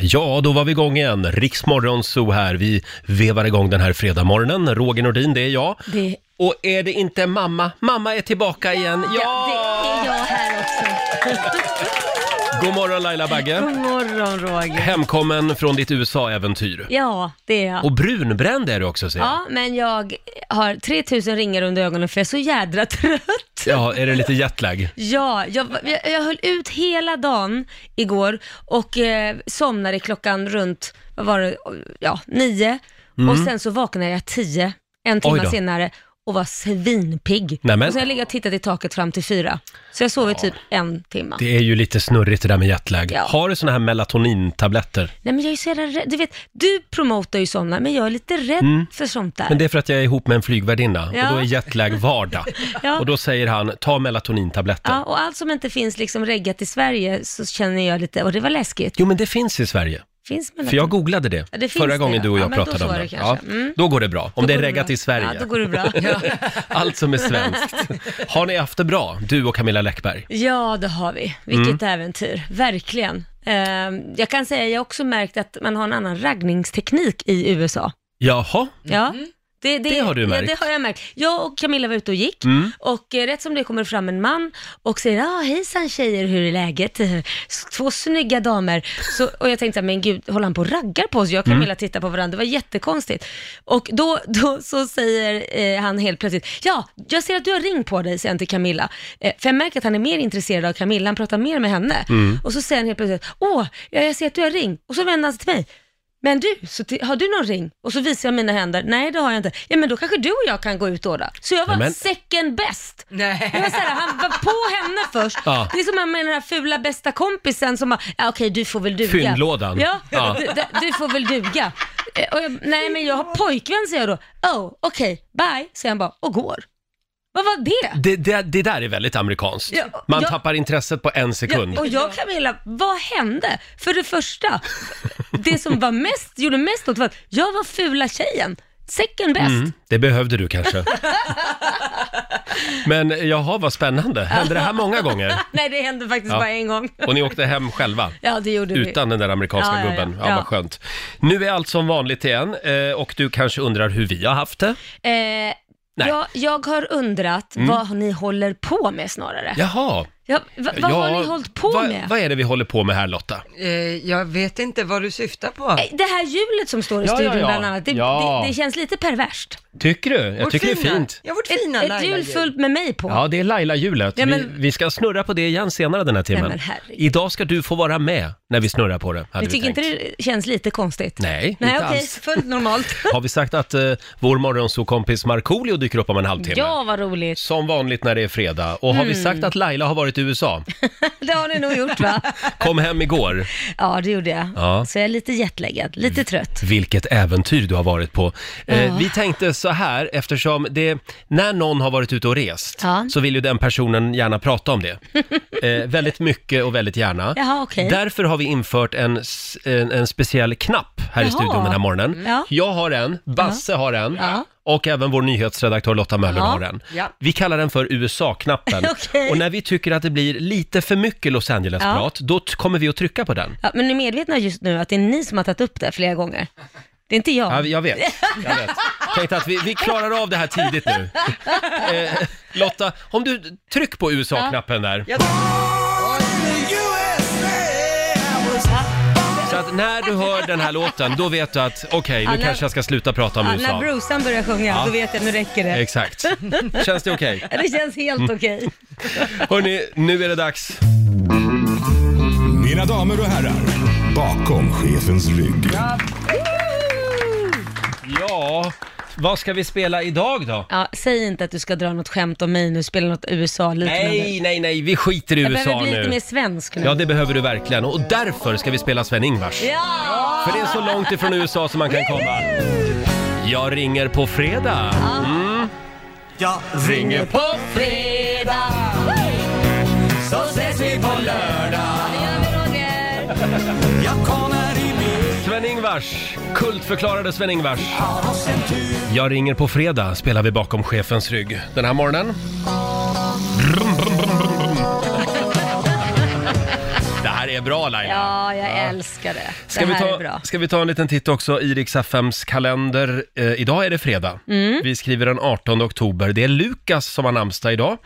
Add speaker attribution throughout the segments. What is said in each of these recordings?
Speaker 1: Ja, då var vi igång igen. Riksmorgon Zoo här. Vi vevar igång den här fredagsmorgonen. Roger Nordin, det är jag.
Speaker 2: Det,
Speaker 1: Och är det inte mamma? Mamma är tillbaka igen.
Speaker 2: ja,
Speaker 1: Ja!
Speaker 2: det är jag här också.
Speaker 1: God morgon Laila Bagge.
Speaker 2: God morgon Roger.
Speaker 1: Hemkommen från ditt USA-äventyr.
Speaker 2: Ja, det är jag.
Speaker 1: Och brunbränd är du också ser jag.
Speaker 2: Ja, men jag har 3000 ringar under ögonen för jag är så jädra trött.
Speaker 1: Ja, är det lite jetlag?
Speaker 2: Ja, jag, jag, jag höll ut hela dagen igår och eh, somnade klockan runt, vad var det, ja, nio. Och sen så vaknade jag tio, en
Speaker 1: Mm. Oj
Speaker 2: timme
Speaker 1: då.
Speaker 2: senare och var svinpigg.
Speaker 1: Nämen.
Speaker 2: Och så har jag legat och tittat i taket fram till fyra. Så jag sov i typ en timme.
Speaker 1: Det är ju lite snurrigt det där med jetlag.
Speaker 2: Ja.
Speaker 1: Har du såna här melatonintabletter?
Speaker 2: Nej men jag är så jävla rädd. Du vet, du promotar ju somnar, men jag är lite rädd för sånt där.
Speaker 1: Mm. Men det är för att jag är ihop med en flygvärdinna
Speaker 2: Ja.
Speaker 1: och då är jetlag vardag.
Speaker 2: Ja.
Speaker 1: Och då säger han, ta melatonintabletter.
Speaker 2: Ja, och allt som inte finns liksom reggat i Sverige så känner jag lite, och det var läskigt.
Speaker 1: Jo, men det finns i Sverige.
Speaker 2: Finns men
Speaker 1: För jag googlade det,
Speaker 2: Ja, det finns
Speaker 1: förra
Speaker 2: det,
Speaker 1: gången
Speaker 2: ja.
Speaker 1: du och
Speaker 2: Ja,
Speaker 1: jag
Speaker 2: men då
Speaker 1: pratade om
Speaker 2: så
Speaker 1: det.
Speaker 2: är det kanske. Mm.
Speaker 1: Då går det bra, om det är
Speaker 2: går det
Speaker 1: reggat
Speaker 2: bra.
Speaker 1: i Sverige.
Speaker 2: Ja, då går det bra. Ja,
Speaker 1: Allt som är svenskt. Har ni haft det bra, du och Camilla Läckberg?
Speaker 2: ja det har vi. Vilket
Speaker 1: Mm.
Speaker 2: äventyr, verkligen. Ehm, jag kan säga, jag har också märkt att man har en annan raggningsteknik i USA.
Speaker 1: Jaha,
Speaker 2: Ja. Det,
Speaker 1: Mhm. Det har du märkt.
Speaker 2: Ja, det har jag märkt. Jag och Camilla var ute och gick
Speaker 3: Mm.
Speaker 4: Mm.
Speaker 2: och eh, rätt som det kommer fram en man och säger ah, hejsan tjejer, hur är läget? S- Två snygga damer. Så, och jag tänkte, men gud, håller han på och raggar på oss? Jag och Camilla tittar på varandra, det var jättekonstigt. Och då, då så säger eh, han helt plötsligt, ja, jag ser att du har ring på dig, säger han till Camilla. Eh, för jag märker att han är mer intresserad av Camilla, han pratar mer med henne.
Speaker 3: Mm.
Speaker 2: Och så säger han helt plötsligt, åh, ja, jag ser att du har ring. Och så vänder han sig till mig. Men du, så ti- har du någon ring? Och så visar jag mina händer. Nej, det har jag inte. Ja, men då kanske du och jag kan gå ut då. då. Så jag var
Speaker 1: Nämen.
Speaker 2: second best. Jag
Speaker 5: Nej.
Speaker 2: var så här, han var på henne först.
Speaker 1: Ja.
Speaker 2: Det är som han med den här fula bästa kompisen som bara, ja, okej du får väl duga.
Speaker 1: Fyndlådan.
Speaker 2: Ja,
Speaker 1: Ja.
Speaker 2: Du, d- du får väl duga. Eh, Och jag, nej men jag har pojkvän säger jag då. Oh, okej, bye, säger han bara och går. Vad var det?
Speaker 1: det, det, det där är väldigt amerikanskt.
Speaker 2: Ja,
Speaker 1: Man
Speaker 2: ja.
Speaker 1: tappar intresset på en sekund.
Speaker 2: Ja, och jag och Camilla, vad hände? För det första, det som var mest, gjorde mest åt var att jag var fula tjejen. Second best.
Speaker 1: Mm, det behövde du kanske. Men jaha, vad spännande. Hände det här många gånger?
Speaker 2: Nej, det hände faktiskt
Speaker 1: Ja.
Speaker 2: bara en gång.
Speaker 1: Och ni åkte hem själva?
Speaker 2: Ja, det gjorde
Speaker 1: Utan den där amerikanska
Speaker 2: Ja, ja, ja.
Speaker 1: gubben. Ja,
Speaker 2: Ja.
Speaker 1: vad skönt. Nu är allt som vanligt igen eh, och du kanske undrar hur vi har haft det?
Speaker 2: vi. Eh,
Speaker 1: Nej. Mm.
Speaker 2: jag, jag har undrat vad ni håller på med snarare.
Speaker 1: Jaha.
Speaker 2: Ja, va, vad
Speaker 1: Ja,
Speaker 2: har ni hållit på
Speaker 1: vad,
Speaker 2: med?
Speaker 1: Vad är det vi håller på med här Lotta?
Speaker 5: Eh, jag vet inte vad du syftar på.
Speaker 2: Eh, Det här hjulet som står i
Speaker 1: Ja, ja,
Speaker 2: studion
Speaker 1: ja.
Speaker 2: bland annat, det,
Speaker 1: Ja.
Speaker 2: det, det känns lite perverst.
Speaker 1: Tycker du? Jag
Speaker 5: Vårt
Speaker 1: tycker det är
Speaker 5: fina-
Speaker 1: fint.
Speaker 5: Ja, vårt fina
Speaker 2: Ett, ett
Speaker 5: Laila-hjul.
Speaker 2: hjul fullt med mig på.
Speaker 1: Ja, det är Laila-hjulet.
Speaker 2: Ja, men-
Speaker 1: vi, vi ska snurra på det igen senare den här timmen.
Speaker 2: Nej, men herregud.
Speaker 1: Idag ska du få vara med när vi snurrar på det, hade
Speaker 2: Du
Speaker 1: vi
Speaker 2: tycker
Speaker 1: tänkt.
Speaker 2: inte det känns lite konstigt?
Speaker 1: Nej,
Speaker 2: Nej,
Speaker 1: inte
Speaker 2: okej,
Speaker 1: alls.
Speaker 2: fullt normalt.
Speaker 1: Har vi sagt att eh, vår morgonsåkompis Markoolio dyker upp om en halvtimme?
Speaker 2: ja, vad roligt. Mm.
Speaker 1: Som vanligt när det är fredag. Och har vi sagt att Laila har varit i USA?
Speaker 2: Det har ni nog gjort va?
Speaker 1: Kom hem igår.
Speaker 2: Ja, det gjorde jag.
Speaker 1: Ja. Mm.
Speaker 2: Så jag är lite jetlaggad, lite trött.
Speaker 1: Vilket äventyr du har varit på. Eh,
Speaker 2: Ja.
Speaker 1: vi tänkte så här, eftersom det, när någon har varit ute och rest
Speaker 2: Ja.
Speaker 1: så vill ju den personen gärna prata om det. Eh, väldigt mycket och väldigt gärna.
Speaker 2: Jaha, okej.
Speaker 1: Därför har vi infört en, s- en, en speciell knapp här i
Speaker 2: Jaha.
Speaker 1: studion den här morgonen.
Speaker 2: Mm. Ja.
Speaker 1: Jag har en, Basse har en
Speaker 2: Ja.
Speaker 1: och även vår nyhetsredaktör Lotta Möller
Speaker 2: Ja.
Speaker 1: har en.
Speaker 5: Ja.
Speaker 1: Vi kallar den för USA-knappen.
Speaker 2: Okej.
Speaker 1: Och när vi tycker att det blir lite för mycket Los Angeles-prat, då t- kommer vi att trycka på den.
Speaker 2: Ja, men ni är medvetna just nu att det är ni som har tagit upp det flera gånger. Det är inte jag.
Speaker 1: Ja, jag vet. Jag vet. Tänkte att vi, vi klarar av det här tidigt nu. Eh, Lotta, om du tryck på USA-knappen där.
Speaker 5: Ja.
Speaker 1: Så att när du hör den här låten, då vet du att okej, nu
Speaker 2: när-
Speaker 1: kanske jag ska sluta prata om
Speaker 2: Ja,
Speaker 1: USA.
Speaker 2: när Brucean börjar sjunga, då vet jag nu räcker det.
Speaker 1: Exakt. Känns det Mm. okej?
Speaker 2: Ja, Det känns helt okej.
Speaker 1: Hörni, nu är det dags.
Speaker 6: Mina damer och herrar, bakom chefens rygg.
Speaker 1: Ja, vad ska vi spela idag då?
Speaker 2: Ja, säg inte att du ska dra något skämt om mig nu, spela något USA-liknande.
Speaker 1: Nej, nej, nej, vi skiter i
Speaker 2: jag
Speaker 1: USA
Speaker 2: behöver bli lite mer
Speaker 1: nu.
Speaker 2: svensk nu.
Speaker 1: Ja, det behöver du verkligen. Och därför ska vi spela Sven-Ingvars.
Speaker 2: Ja!
Speaker 1: För det är så långt ifrån USA som man kan komma. Jag ringer på fredag. Mm.
Speaker 4: Jag
Speaker 1: ringer på
Speaker 2: Fredag!
Speaker 4: Så ses vi på lördag
Speaker 2: Det gör vi, Roger.
Speaker 4: Jag kommer i bil
Speaker 1: Sven-Ingvars. Kultförklarade Sven-Ingvars.
Speaker 4: Har oss en tur
Speaker 1: Jag ringer på fredag spelar vi bakom chefens rygg den här morgonen. Det här är bra Laila.
Speaker 2: Ja, jag älskar det.
Speaker 1: Ska
Speaker 2: det
Speaker 1: vi,
Speaker 2: här är bra.
Speaker 1: ta, ska vi ta en liten titt också i Rix FMs kalender. Eh, idag är det fredag.
Speaker 2: Mm.
Speaker 1: Vi skriver den 18 oktober. Det är Lukas som har namnsdag idag.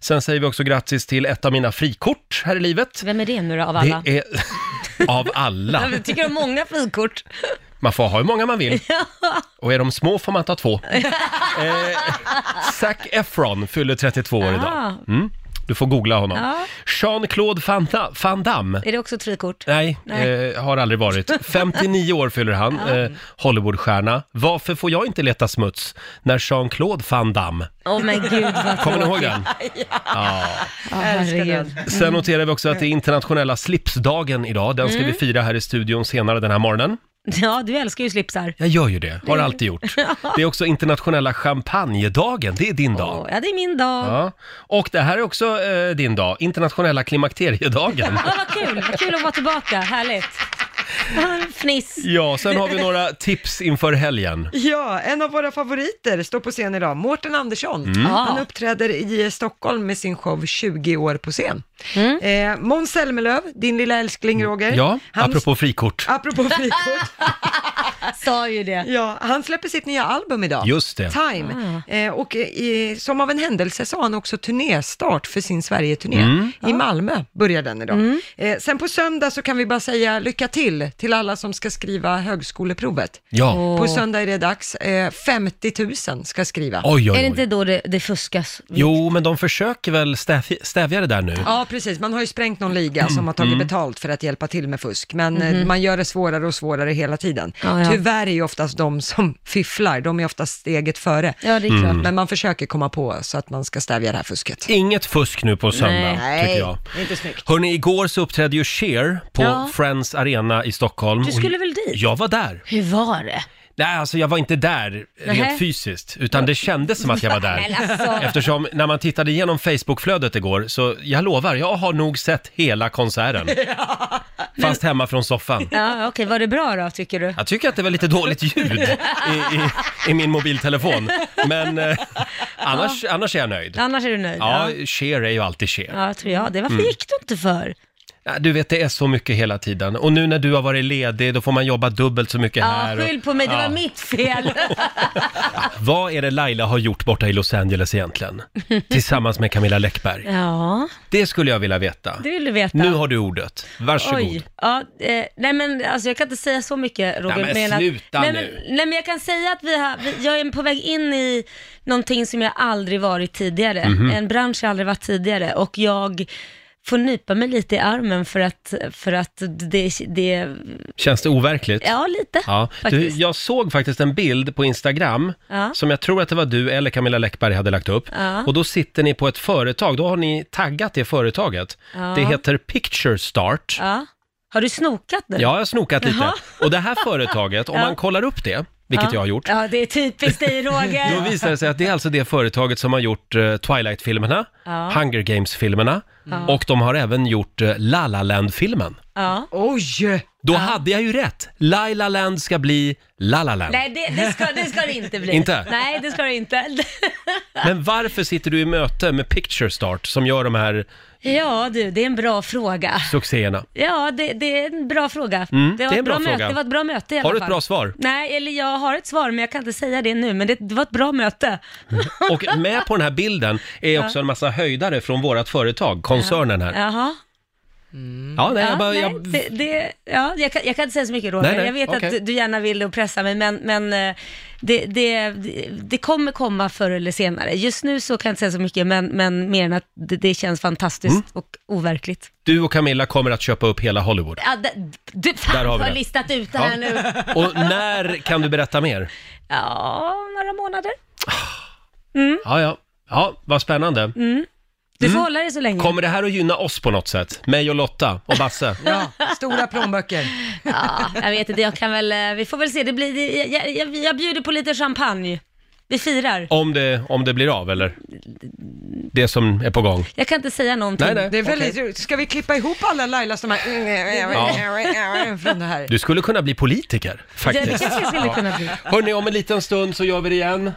Speaker 1: Sen säger vi också grattis till ett av mina frikort här i livet.
Speaker 2: Vem är det nu då av alla?
Speaker 1: Det är av alla.
Speaker 2: Jag tycker om många frikort.
Speaker 1: Man får ha hur många man vill. Och är de små får man ta två. Eh, Zac Efron fyller 32 år idag.
Speaker 2: Ah,
Speaker 1: Mm. Du får googla honom.
Speaker 2: Ja.
Speaker 1: Jean-Claude Van, Da- Van Damme.
Speaker 2: är det också ett frikort?
Speaker 1: Nej,
Speaker 2: Nej.
Speaker 1: Eh, har aldrig varit. 59 år fyller han, eh, Hollywoodstjärna. Varför får jag inte leta smuts när Jean-Claude Van Damme?
Speaker 2: Åh men Oh gud vad
Speaker 1: Kommer ni ihåg den?
Speaker 2: Ja, herregud.
Speaker 1: Sen noterar vi också att det är internationella slipsdagen idag. Den ska
Speaker 2: Mm.
Speaker 1: vi fira här i studion senare den här morgonen.
Speaker 2: Ja, du älskar ju slipsar.
Speaker 1: Jag gör ju det, har alltid gjort. Det är också internationella champagnedagen, det är din dag.
Speaker 2: Åh, ja, det är min dag.
Speaker 1: Ja. Och det här är också eh, din dag, internationella klimakteriedagen.
Speaker 2: Ja, vad kul. Vad kul att vara tillbaka. Härligt. Fniss.
Speaker 1: Ja, sen har vi några tips inför helgen.
Speaker 5: Ja, en av våra favoriter står på scen idag, Mårten Andersson.
Speaker 1: Mm.
Speaker 5: Han
Speaker 2: Ja.
Speaker 5: uppträder i Stockholm med sin show 20 år på scen.
Speaker 2: Mm.
Speaker 5: Eh, Måns Zelmerlöw, din lilla älskling Roger.
Speaker 1: Ja,
Speaker 5: han,
Speaker 1: apropå frikort.
Speaker 5: apropå frikort.
Speaker 2: Sa ju det.
Speaker 5: Ja, han släpper sitt nya album idag.
Speaker 1: Just det.
Speaker 5: Time.
Speaker 2: Ah.
Speaker 5: Eh, och eh, som av en händelse så har han också turnéstart för sin Sverige-turné.
Speaker 1: Mm.
Speaker 5: I Malmö börjar den idag.
Speaker 2: Mm.
Speaker 5: Eh, sen på söndag så kan vi bara säga lycka till till alla som ska skriva högskoleprovet.
Speaker 1: Ja.
Speaker 5: På
Speaker 2: Åh.
Speaker 5: söndag är det dags. Eh, 50 000 ska skriva.
Speaker 1: Oj,
Speaker 2: Är det
Speaker 1: oj, oj.
Speaker 2: inte då det, det fuskas?
Speaker 1: Jo, men de försöker väl stävja, stävja det där nu?
Speaker 5: Ja, precis. Man har ju sprängt någon liga som har tagit
Speaker 2: Mm.
Speaker 5: betalt för att hjälpa till med fusk, men eh, man gör det svårare och svårare hela tiden.
Speaker 2: Mm-hmm. Ja, ja.
Speaker 5: Tyvärr är ju oftast de som fifflar, de är oftast steget före. Mm.
Speaker 2: Ja, det är klart.
Speaker 5: Men man försöker komma på så att man ska stävja det här fusket.
Speaker 1: Inget fusk nu på söndag, tycker jag.
Speaker 5: det är inte snyggt.
Speaker 1: Hörni, igår så uppträdde ju Cher på
Speaker 2: Ja.
Speaker 1: Friends Arena i Stockholm.
Speaker 2: Du
Speaker 1: Och
Speaker 2: skulle väl dit?
Speaker 1: Jag var där.
Speaker 2: Hur var det?
Speaker 1: Nej, alltså jag var inte där
Speaker 2: Nähä.
Speaker 1: rent fysiskt, utan det kändes som att jag var där.
Speaker 2: Men alltså,
Speaker 1: Eftersom när man tittade igenom Facebookflödet igår, så jag lovar, jag har nog sett hela konserten. Fast hemma från soffan.
Speaker 2: ja, okej, var det bra då tycker du?
Speaker 1: Jag tycker att det var lite dåligt ljud i, i, i min mobiltelefon, men eh, annars, annars är jag nöjd.
Speaker 2: Annars är du nöjd?
Speaker 1: Ja, Mm.
Speaker 2: ja.
Speaker 1: Cher är ju alltid Cher.
Speaker 2: Ja, tror jag det. Varför gick du inte för?
Speaker 1: Ja, Du vet, det är så mycket hela tiden. Och nu när du har varit ledig, då får man jobba dubbelt så mycket
Speaker 2: Ja,
Speaker 1: här.
Speaker 2: skyll
Speaker 1: Och,
Speaker 2: på mig, det
Speaker 1: Ja.
Speaker 2: var mitt fel.
Speaker 1: vad är det Laila har gjort borta i Los Angeles egentligen? Tillsammans med Camilla Läckberg.
Speaker 2: ja,
Speaker 1: Det skulle jag vilja veta.
Speaker 2: det vill du veta.
Speaker 1: Nu har du ordet. Varsågod.
Speaker 2: Oj, ja, eh, nej men alltså jag kan inte säga så mycket Roger.
Speaker 1: Nej, men
Speaker 2: att,
Speaker 1: sluta
Speaker 2: nej,
Speaker 1: nu.
Speaker 2: Men, nej men jag kan säga att vi har, vi, jag är på väg in i någonting som jag aldrig varit tidigare.
Speaker 1: Mhm.
Speaker 2: En bransch jag aldrig varit tidigare och jag får nypa mig lite i armen för att, för att det, det
Speaker 1: Känns det overkligt?
Speaker 2: ja lite
Speaker 1: Ja. Du,
Speaker 2: faktiskt.
Speaker 1: jag såg faktiskt en bild på Instagram
Speaker 2: Ja.
Speaker 1: som jag tror att det var du eller Camilla Läckberg hade lagt upp.
Speaker 2: Ja.
Speaker 1: Och då sitter ni på ett företag, då har ni taggat det företaget.
Speaker 2: Ja.
Speaker 1: Det heter Picture Start.
Speaker 2: Ja. Har du snokat nu?
Speaker 1: Ja, jag har snokat lite.
Speaker 2: Jaha.
Speaker 1: Och det här företaget, om man kollar upp det, vilket jag har gjort,
Speaker 2: Ja, det är typiskt dig Roger.
Speaker 1: då visar det sig att det är alltså det företaget som har gjort eh, Twilight-filmerna,
Speaker 2: Ja.
Speaker 1: Hunger Games-filmerna och de har även gjort eh, La La Land-filmen.
Speaker 2: Ja.
Speaker 5: Oj!
Speaker 1: Då hade jag ju rätt! Laila Land ska bli La La Land.
Speaker 2: Nej, det, det, ska, det ska det inte bli.
Speaker 1: Inte?
Speaker 2: Nej, det ska det inte.
Speaker 1: Men varför sitter du i möte med Picture Start som gör de här
Speaker 2: ja du, det är en bra fråga.
Speaker 1: succéerna?
Speaker 2: Ja, det, det är en bra fråga. det, var
Speaker 1: Mm, det är en
Speaker 2: ett
Speaker 1: bra
Speaker 2: bra
Speaker 1: fråga.
Speaker 2: möte. det var ett bra möte i alla
Speaker 1: Har du ett
Speaker 2: fall.
Speaker 1: bra svar?
Speaker 2: Nej, eller jag har ett svar men jag kan inte säga det nu, men det, det var ett bra möte.
Speaker 1: Och med på den här bilden är också en massa höjdare från vårt företag, koncernen här.
Speaker 2: Jaha.
Speaker 1: Ja, nej,
Speaker 2: Ja,
Speaker 1: jag bara,
Speaker 2: nej,
Speaker 1: jag,
Speaker 2: det, det, ja, jag, kan, jag kan inte säga så mycket Roger.
Speaker 1: Nej, nej,
Speaker 2: jag vet
Speaker 1: okej.
Speaker 2: att du- du gärna vill och pressa mig, men, men eh, det, det, det- det kommer komma förr eller senare. Just nu så kan jag inte säga så mycket, men, men mer än att det, det känns fantastiskt
Speaker 1: Mm.
Speaker 2: och overkligt.
Speaker 1: du och Camilla kommer att köpa upp hela Hollywood.
Speaker 2: Ja, det, du, fan,
Speaker 1: Där har vi
Speaker 2: har
Speaker 1: det.
Speaker 2: listat ut det
Speaker 1: Ja.
Speaker 2: här nu.
Speaker 1: Och när kan du berätta mer?
Speaker 2: Ja, några månader.
Speaker 1: Ja, ja. Ja, vad spännande.
Speaker 2: Mm.
Speaker 1: Mm.
Speaker 2: Du får hålla dig så länge.
Speaker 1: Kommer det här att gynna oss på något sätt? Mig och Lotta och Basse?
Speaker 5: Ja, stora plånböcker.
Speaker 2: Ja, jag vet inte, jag kan väl, eh, vi får väl se, det blir, det- jag, jag, jag, jag bjuder på lite champagne. Vi firar.
Speaker 1: Om det, om det blir av, eller? Det som är på gång.
Speaker 2: Jag kan inte säga någonting.
Speaker 1: Nej, nej.
Speaker 5: Det är väldigt roligt. Ska vi klippa ihop alla Lailas de här från det här?
Speaker 1: Du skulle kunna bli politiker,
Speaker 2: Ja, det
Speaker 1: faktiskt.
Speaker 2: kanske jag skulle kunna bli.
Speaker 1: Hörni, om en liten stund så gör vi det igen.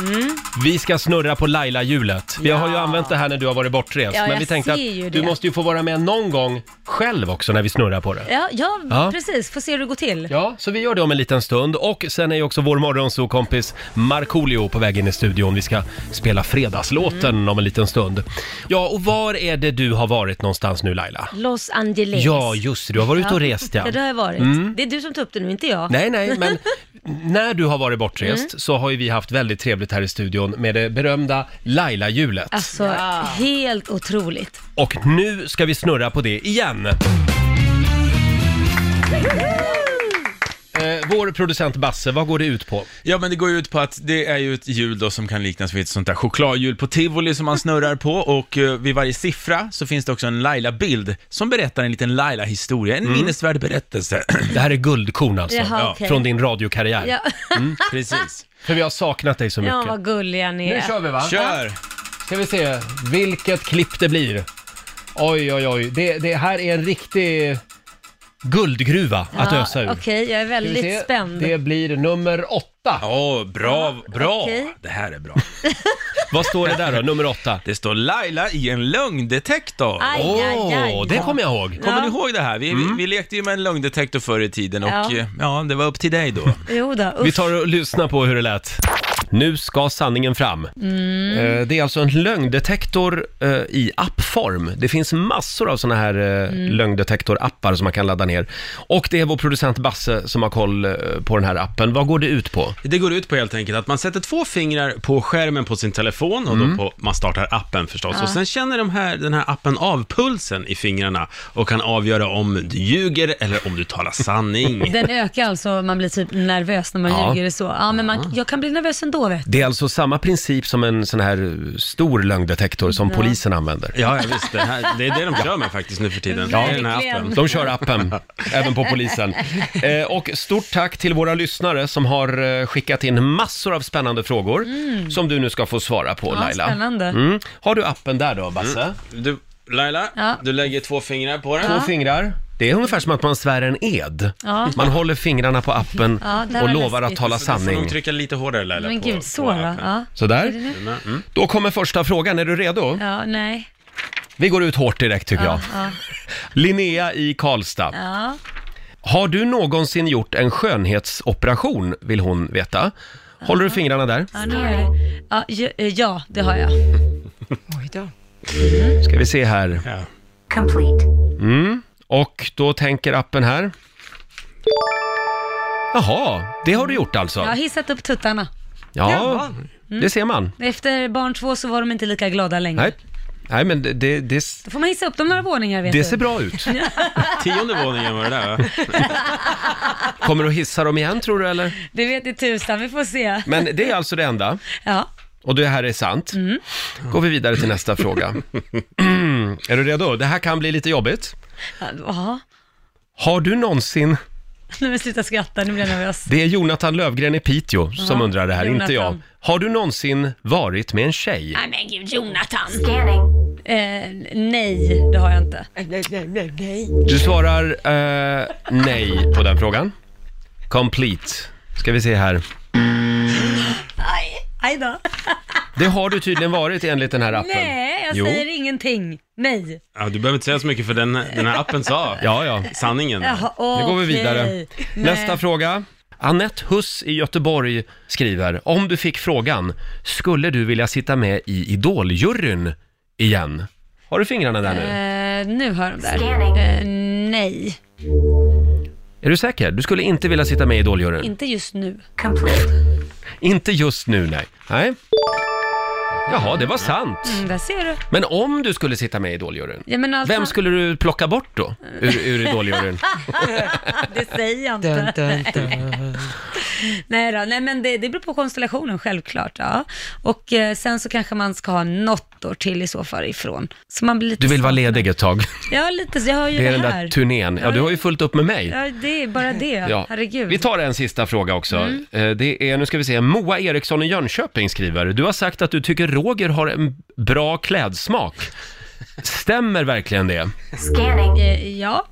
Speaker 2: Mm.
Speaker 1: Vi ska snurra på Laila-hjulet. Vi har ju använt det här när du har varit bortrest.
Speaker 2: Ja,
Speaker 1: men
Speaker 2: jag
Speaker 1: vi tänkte att
Speaker 2: ser ju
Speaker 1: du
Speaker 2: det.
Speaker 1: måste ju få vara med någon gång själv också när vi snurrar på det.
Speaker 2: Ja, ja,
Speaker 1: Ja.
Speaker 2: precis. Får se hur det går till.
Speaker 1: Ja, så vi gör det om en liten stund. Och sen är ju också vår morgonsokompis Markoolio på väg in i studion. Vi ska spela fredagslåten
Speaker 2: Mm.
Speaker 1: om en liten stund. Ja, och var är det du har varit någonstans nu Laila?
Speaker 2: Los Angeles.
Speaker 1: Ja, just det. Du har varit ute och rest Mm.
Speaker 2: Ja, det har jag varit. Det är du som tar upp det nu, inte jag.
Speaker 1: Nej, nej, men när du har varit bortrest
Speaker 2: Mm.
Speaker 1: så har ju vi haft väldigt trevligt här i studion med det berömda Laila-hjulet.
Speaker 2: Alltså, helt otroligt.
Speaker 1: Och nu ska vi snurra på det igen. Eh, vår producent Basse, vad går det ut på?
Speaker 3: Ja, men det går ju ut på att det är ju ett hjul då som kan liknas vid ett sånt där chokladhjul på tivoli som man snurrar på och eh, vid varje siffra så finns det också en Laila-bild som berättar en liten Laila-historia, en minnesvärd berättelse.
Speaker 1: Mm. Det här är guldkorn alltså,
Speaker 2: Jaha,
Speaker 1: ja,
Speaker 2: okej.
Speaker 1: från din radiokarriär.
Speaker 2: Ja,
Speaker 3: Precis.
Speaker 1: För vi har saknat dig Mm, så mycket.
Speaker 2: ja vad gulliga ni
Speaker 1: Nu
Speaker 2: är.
Speaker 1: kör vi va?
Speaker 3: Kör!
Speaker 1: Ska vi se vilket klipp det blir. Oj, oj, oj. Det, det här är en riktig guldgruva att
Speaker 2: Ja,
Speaker 1: ösa ur.
Speaker 2: Okej, jag är
Speaker 1: Ska vi
Speaker 2: väldigt
Speaker 1: se?
Speaker 2: spänd.
Speaker 1: Det blir nummer åtta.
Speaker 3: Åh, bra, bra!
Speaker 2: okej.
Speaker 3: Det här är bra.
Speaker 1: Vad står det där då, nummer åtta?
Speaker 3: Det står Laila i en lögndetektor.
Speaker 2: Aj,
Speaker 1: Åh,
Speaker 2: aj, aj.
Speaker 1: det kommer jag ihåg.
Speaker 3: Kommer ni ihåg det här? Vi,
Speaker 1: Mm.
Speaker 3: vi, vi lekte ju med en lögndetektor förr i tiden och
Speaker 2: Ja.
Speaker 3: ja, ja det var upp till dig då.
Speaker 2: Jo då, usch.
Speaker 1: Vi tar och lyssnar på hur det lät. Nu ska sanningen fram.
Speaker 2: Mm.
Speaker 1: Eh, Det är alltså en lögndetektor eh, i appform. Det finns massor av sådana här eh, lögndetektorappar som man kan ladda ner. Och det är vår producent Basse som har koll eh, på den här appen. Vad går det ut på?
Speaker 7: Det går ut på helt enkelt att man sätter två fingrar på skärmen på sin telefon och
Speaker 1: Mm.
Speaker 7: då på, man startar appen förstås. Och sen känner de här, den här appen av pulsen i fingrarna och kan avgöra om du ljuger eller om du talar sanning.
Speaker 2: Den ökar alltså, man blir typ nervös när man
Speaker 1: Mm. Ja. Ah.
Speaker 2: ljuger och så. Ja, men man, jag kan bli nervös ändå vet du.
Speaker 1: Det är alltså samma princip som en sån här eh, stor lögndetektor som polisen använder.
Speaker 7: Ja, ja visst. Det, här, det är det de kör med faktiskt nu för tiden. Det är den här appen.
Speaker 1: De kör appen, även på polisen. Eh, och stort tack till våra lyssnare som har eh, skickat in massor av spännande frågor som du nu ska få svara på
Speaker 2: Mm. Ja,
Speaker 1: Laila.
Speaker 2: spännande.
Speaker 1: Mm. Har du appen där då, Basse?
Speaker 7: Mm. Du, Laila,
Speaker 2: Ja.
Speaker 7: du lägger två fingrar på den.
Speaker 1: Två fingrar. Det är ungefär som att man svär en ed.
Speaker 2: Ja.
Speaker 1: Man håller fingrarna på appen
Speaker 2: Ja, det här
Speaker 1: och
Speaker 2: var
Speaker 1: lovar att
Speaker 2: läskigt.
Speaker 1: tala
Speaker 7: Du får nog
Speaker 1: sanning.
Speaker 7: trycka lite hårdare Laila
Speaker 2: Men
Speaker 7: på,
Speaker 2: gud,
Speaker 7: på
Speaker 2: så då.
Speaker 7: appen.
Speaker 2: Ja.
Speaker 1: Sådär.
Speaker 7: Mm.
Speaker 1: Då kommer första frågan. Är du redo?
Speaker 2: ja, nej.
Speaker 1: Vi går ut hårt direkt tycker jag.
Speaker 2: Ja,
Speaker 1: Linnea i Karlstad.
Speaker 2: ja.
Speaker 1: Har du någonsin gjort en skönhetsoperation, vill hon veta. Håller du fingrarna där?
Speaker 2: ja, nu är det. Ja, ju- eh, ja, det har jag.
Speaker 5: Oj då.
Speaker 1: Ska vi se här.
Speaker 7: Ja.
Speaker 1: Mm. Och då tänker appen här. Jaha, det har du gjort alltså?
Speaker 2: Jag har hissat upp tuttarna.
Speaker 1: Ja,
Speaker 2: Mm.
Speaker 1: det ser man.
Speaker 2: Efter barn två så var de inte lika glada längre.
Speaker 1: Nej, Nej men det, det, det,
Speaker 2: Då får man hissa upp dem några våningar vet
Speaker 1: det
Speaker 2: du.
Speaker 1: ser bra ut.
Speaker 7: Tionde våningen var det där va?
Speaker 1: Kommer du hissa dem igen tror du eller?
Speaker 2: Det vet i tusan, vi får se.
Speaker 1: Men det är alltså det enda.
Speaker 2: Ja.
Speaker 1: Och det här är sant. Går vi vidare till nästa fråga. är du redo? Det här kan bli lite jobbigt.
Speaker 2: Jaha.
Speaker 1: Har du någonsin
Speaker 2: Nu men sluta skratta, nu blir jag nervös.
Speaker 1: Det är Jonathan Lövgren i Piteå som
Speaker 2: Ja,
Speaker 1: undrar det här, inte
Speaker 2: Jonathan.
Speaker 1: jag. Har du någonsin varit med en tjej?
Speaker 2: Nej men gud, Jonathan. Eh, nej, det har jag inte.
Speaker 5: Nej, nej, nej, nej.
Speaker 1: Du svarar eh, nej på den frågan. Complete. Ska vi se här.
Speaker 2: Aj, aj då.
Speaker 1: Det har du tydligen varit enligt den här appen.
Speaker 2: Nej, jag
Speaker 1: Jo.
Speaker 2: säger ingenting. Nej.
Speaker 7: Ja, du behöver inte säga så mycket för den, den här appen sa
Speaker 1: Ja, ja.
Speaker 7: sanningen.
Speaker 2: Jaha,
Speaker 1: Nu går vi
Speaker 2: okej.
Speaker 1: vidare.
Speaker 2: Nej.
Speaker 1: Nästa fråga. Annette Huss i Göteborg skriver, om du fick frågan, skulle du vilja sitta med i Idoljuryn igen? Har du fingrarna där nu?
Speaker 2: Eh, nu har de där. Eh, nej,
Speaker 1: Är du säker? Du skulle inte vilja sitta med i Idoljuryn?
Speaker 2: inte just nu.
Speaker 1: Inte just nu, nej. nej. Jaha, det var sant.
Speaker 2: Mm, där ser du.
Speaker 1: Men om du skulle sitta med i Idoljuryn,
Speaker 2: Ja, men alltså- allt
Speaker 1: vem skulle du plocka bort då ur, ur Idoljuryn?
Speaker 2: Det säger jag inte.
Speaker 5: Dun, dun, dun.
Speaker 2: Nej då, nej men det, det beror på konstellationen självklart. Ja. Och eh, sen så kanske man ska ha något år till i så fall ifrån. Så man blir lite
Speaker 1: Du vill vara
Speaker 2: saknad.
Speaker 1: ledig ett tag.
Speaker 2: Ja, lite så. Jag har ju
Speaker 1: Det
Speaker 2: det,
Speaker 1: är den
Speaker 2: här.
Speaker 1: där turnén. Ja, du har ju fullt upp med mig.
Speaker 2: Ja, det är bara det.
Speaker 1: Ja.
Speaker 2: Herregud.
Speaker 1: Vi tar en sista fråga också.
Speaker 2: Mm.
Speaker 1: Eh, Det är, nu ska vi se, Moa Eriksson i Jönköping skriver. Du har sagt att du tycker Roger har en bra klädsmak. Stämmer verkligen det?
Speaker 2: Eh, Ja,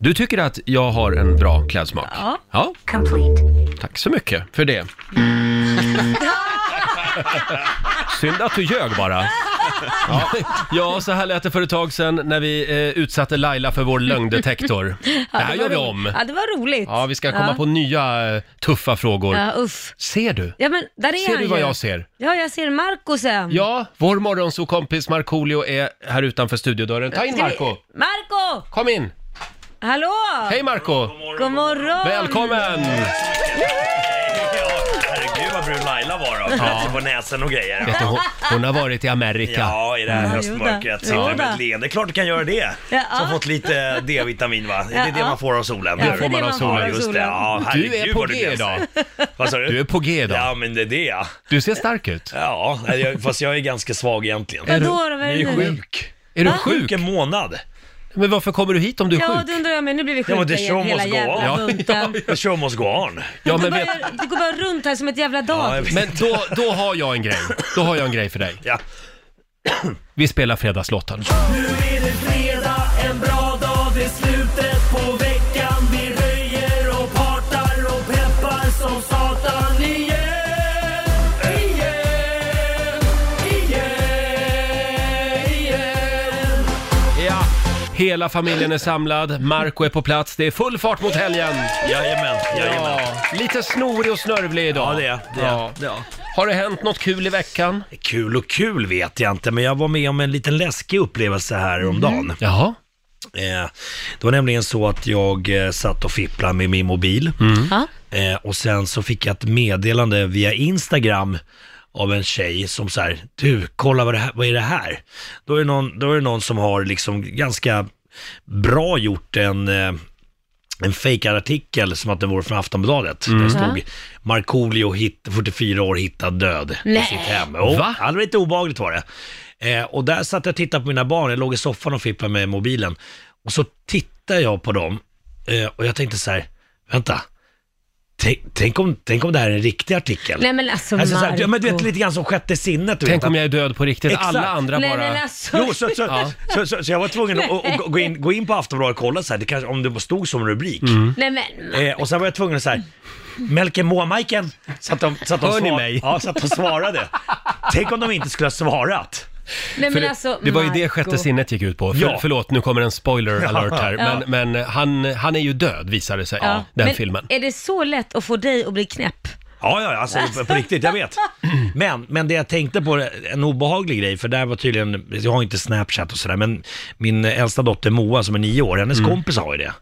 Speaker 1: Du tycker att jag har en bra klädsmak?
Speaker 2: Ja.
Speaker 1: ja. Tack så mycket för det. Synd att du ljög bara. Ja. ja, så här lät det för ett tag sedan när vi eh, utsatte Laila för vår lögndetektor. Det här
Speaker 2: var
Speaker 1: gör vi
Speaker 2: ro-
Speaker 1: om.
Speaker 2: Ja, det var roligt.
Speaker 1: Ja, vi ska komma
Speaker 2: ja.
Speaker 1: på nya eh, tuffa frågor.
Speaker 2: Ja, uff.
Speaker 1: Ser du?
Speaker 2: Ja, men där är
Speaker 1: Ser
Speaker 2: han
Speaker 1: du vad
Speaker 2: ju. Mm.
Speaker 1: jag ser?
Speaker 2: Ja, jag ser Marcus än.
Speaker 1: Ja, vår morgonsåkompis Markoolio är här utanför studiodörren. Ta in
Speaker 2: Ska vi-
Speaker 1: Marco!
Speaker 2: Marco!
Speaker 1: Kom in!
Speaker 2: Hallå!
Speaker 1: Hej Marco!
Speaker 2: God morgon!
Speaker 1: Välkommen!
Speaker 8: Herregud vad brun Laila var då. Plötsligt på näsan och grejer.
Speaker 1: Vet du, hon, hon har varit i Amerika.
Speaker 8: Ja, i det här
Speaker 2: Ja, Mm. jo då.
Speaker 8: höstmörkret. Sitter
Speaker 2: Jo
Speaker 8: du med
Speaker 2: då.
Speaker 8: ett leende. klart du kan göra det.
Speaker 2: Ja.
Speaker 8: Som fått lite D-vitamin va? Det är
Speaker 2: Ja.
Speaker 8: det man får av solen.
Speaker 2: Ja, det är
Speaker 1: får man av solen.
Speaker 8: Ja, just det. Ja,
Speaker 1: Du är
Speaker 8: herregud,
Speaker 1: på
Speaker 8: vad
Speaker 1: G
Speaker 8: glänser.
Speaker 1: idag.
Speaker 8: Vad sa du?
Speaker 1: Du är på G idag.
Speaker 8: Ja, men det är det ja.
Speaker 1: Du ser stark ut.
Speaker 8: Ja, jag- fast jag är ganska svag egentligen.
Speaker 2: Vadå då? Vad
Speaker 8: Jag är
Speaker 2: är det?
Speaker 8: sjuk.
Speaker 1: Är du
Speaker 8: Sjuk
Speaker 1: sjuk?
Speaker 8: en månad.
Speaker 1: Men varför kommer du hit om du är
Speaker 2: Ja,
Speaker 1: sjuk?
Speaker 2: det undrar jag med. Nu blir vi
Speaker 8: Ja, men
Speaker 2: sjuka
Speaker 8: det show
Speaker 2: igen, hela
Speaker 8: must go
Speaker 2: jävla
Speaker 8: on.
Speaker 2: bunten.
Speaker 8: The show must go on.
Speaker 1: Ja, men,
Speaker 2: Du
Speaker 1: vet,
Speaker 2: bara- Du går bara runt här som ett jävla
Speaker 8: Ja, jag
Speaker 2: dag.
Speaker 8: vet.
Speaker 1: men då, då har jag en grej. Då har jag en grej för dig.
Speaker 8: Ja.
Speaker 1: Vi spelar Fredagslåten.
Speaker 4: Nu är det fredag, en bra dag, det är slutet på veckan. Vi röjer och partar och peppar som satan igen. Igen, igen, igen.
Speaker 1: Ja. Hela familjen är samlad, Marco är på plats, det är full fart mot helgen!
Speaker 8: Jajamän, jajamän.
Speaker 1: Ja, lite snorig och snörvlig idag.
Speaker 8: Ja, det är det. Är,
Speaker 1: Ja.
Speaker 8: det är.
Speaker 1: Har det hänt något kul i veckan?
Speaker 8: Kul och kul vet jag inte, men jag var med om en liten läskig upplevelse här om dagen.
Speaker 1: Mm. Jaha?
Speaker 8: Eh, det var nämligen så att jag eh, satt och fipplade med min mobil
Speaker 2: Ja.
Speaker 8: eh, och sen så fick jag ett meddelande via Instagram av en tjej som så här, du, kolla vad, det här, vad är det här? Då är det, någon, då är det någon som har liksom ganska bra gjort en eh, en fejkad artikel som att den vore från Aftonbladet. Där det stod Markoolio, hit- 44 år, hittad död
Speaker 2: Nej.
Speaker 8: på sitt hem. Jo,
Speaker 1: Va?
Speaker 8: Ja, det var lite obehagligt var det. Eh, och där satt jag och tittade på mina barn, jag låg i soffan och fipplade med mobilen. Och så tittade jag på dem eh, och jag tänkte så här, vänta, tänk, tänk, om, tänk om det här är en riktig artikel?
Speaker 2: Nej men alltså
Speaker 8: alltså, så här,
Speaker 2: Marco.
Speaker 8: ja, men du vet lite grann som sjätte sinnet. Du
Speaker 1: Tänk
Speaker 8: vet,
Speaker 1: om
Speaker 8: att-
Speaker 1: jag är död på riktigt,
Speaker 8: Exakt.
Speaker 1: alla andra
Speaker 2: Nej
Speaker 1: bara...
Speaker 2: men alltså.
Speaker 8: Jo, så, så, så, så, så jag var tvungen att, att, att gå, in, gå in på Aftonbladet och kolla så här, det kanske, om det stod som rubrik.
Speaker 1: Mm.
Speaker 2: Nej men.
Speaker 8: Eh, och sen var jag tvungen att såhär, Melker Moa-Majken, så att de, så att de,
Speaker 1: Hör ni
Speaker 8: svar-
Speaker 1: mig?
Speaker 8: Ja, så att de svarade. Tänk om de inte skulle ha svarat.
Speaker 2: Nej
Speaker 1: För
Speaker 2: men
Speaker 1: det,
Speaker 2: alltså
Speaker 1: det var ju det
Speaker 2: Marco.
Speaker 1: sjätte sinnet gick ut på. För,
Speaker 8: Ja.
Speaker 1: Förlåt, nu kommer en spoiler alert här.
Speaker 2: Ja.
Speaker 1: Men, men han, han är ju död visar det sig,
Speaker 2: Ja.
Speaker 1: den
Speaker 2: men
Speaker 1: filmen.
Speaker 2: Är det så lätt att få dig att bli knäpp?
Speaker 8: Ja, ja, ja, alltså på riktigt, jag vet. Men, men det jag tänkte på, en obehaglig grej, för där var tydligen, jag har inte Snapchat och sådär, men min äldsta dotter Moa som är nio år, hennes
Speaker 1: Mm.
Speaker 8: kompis har ju det.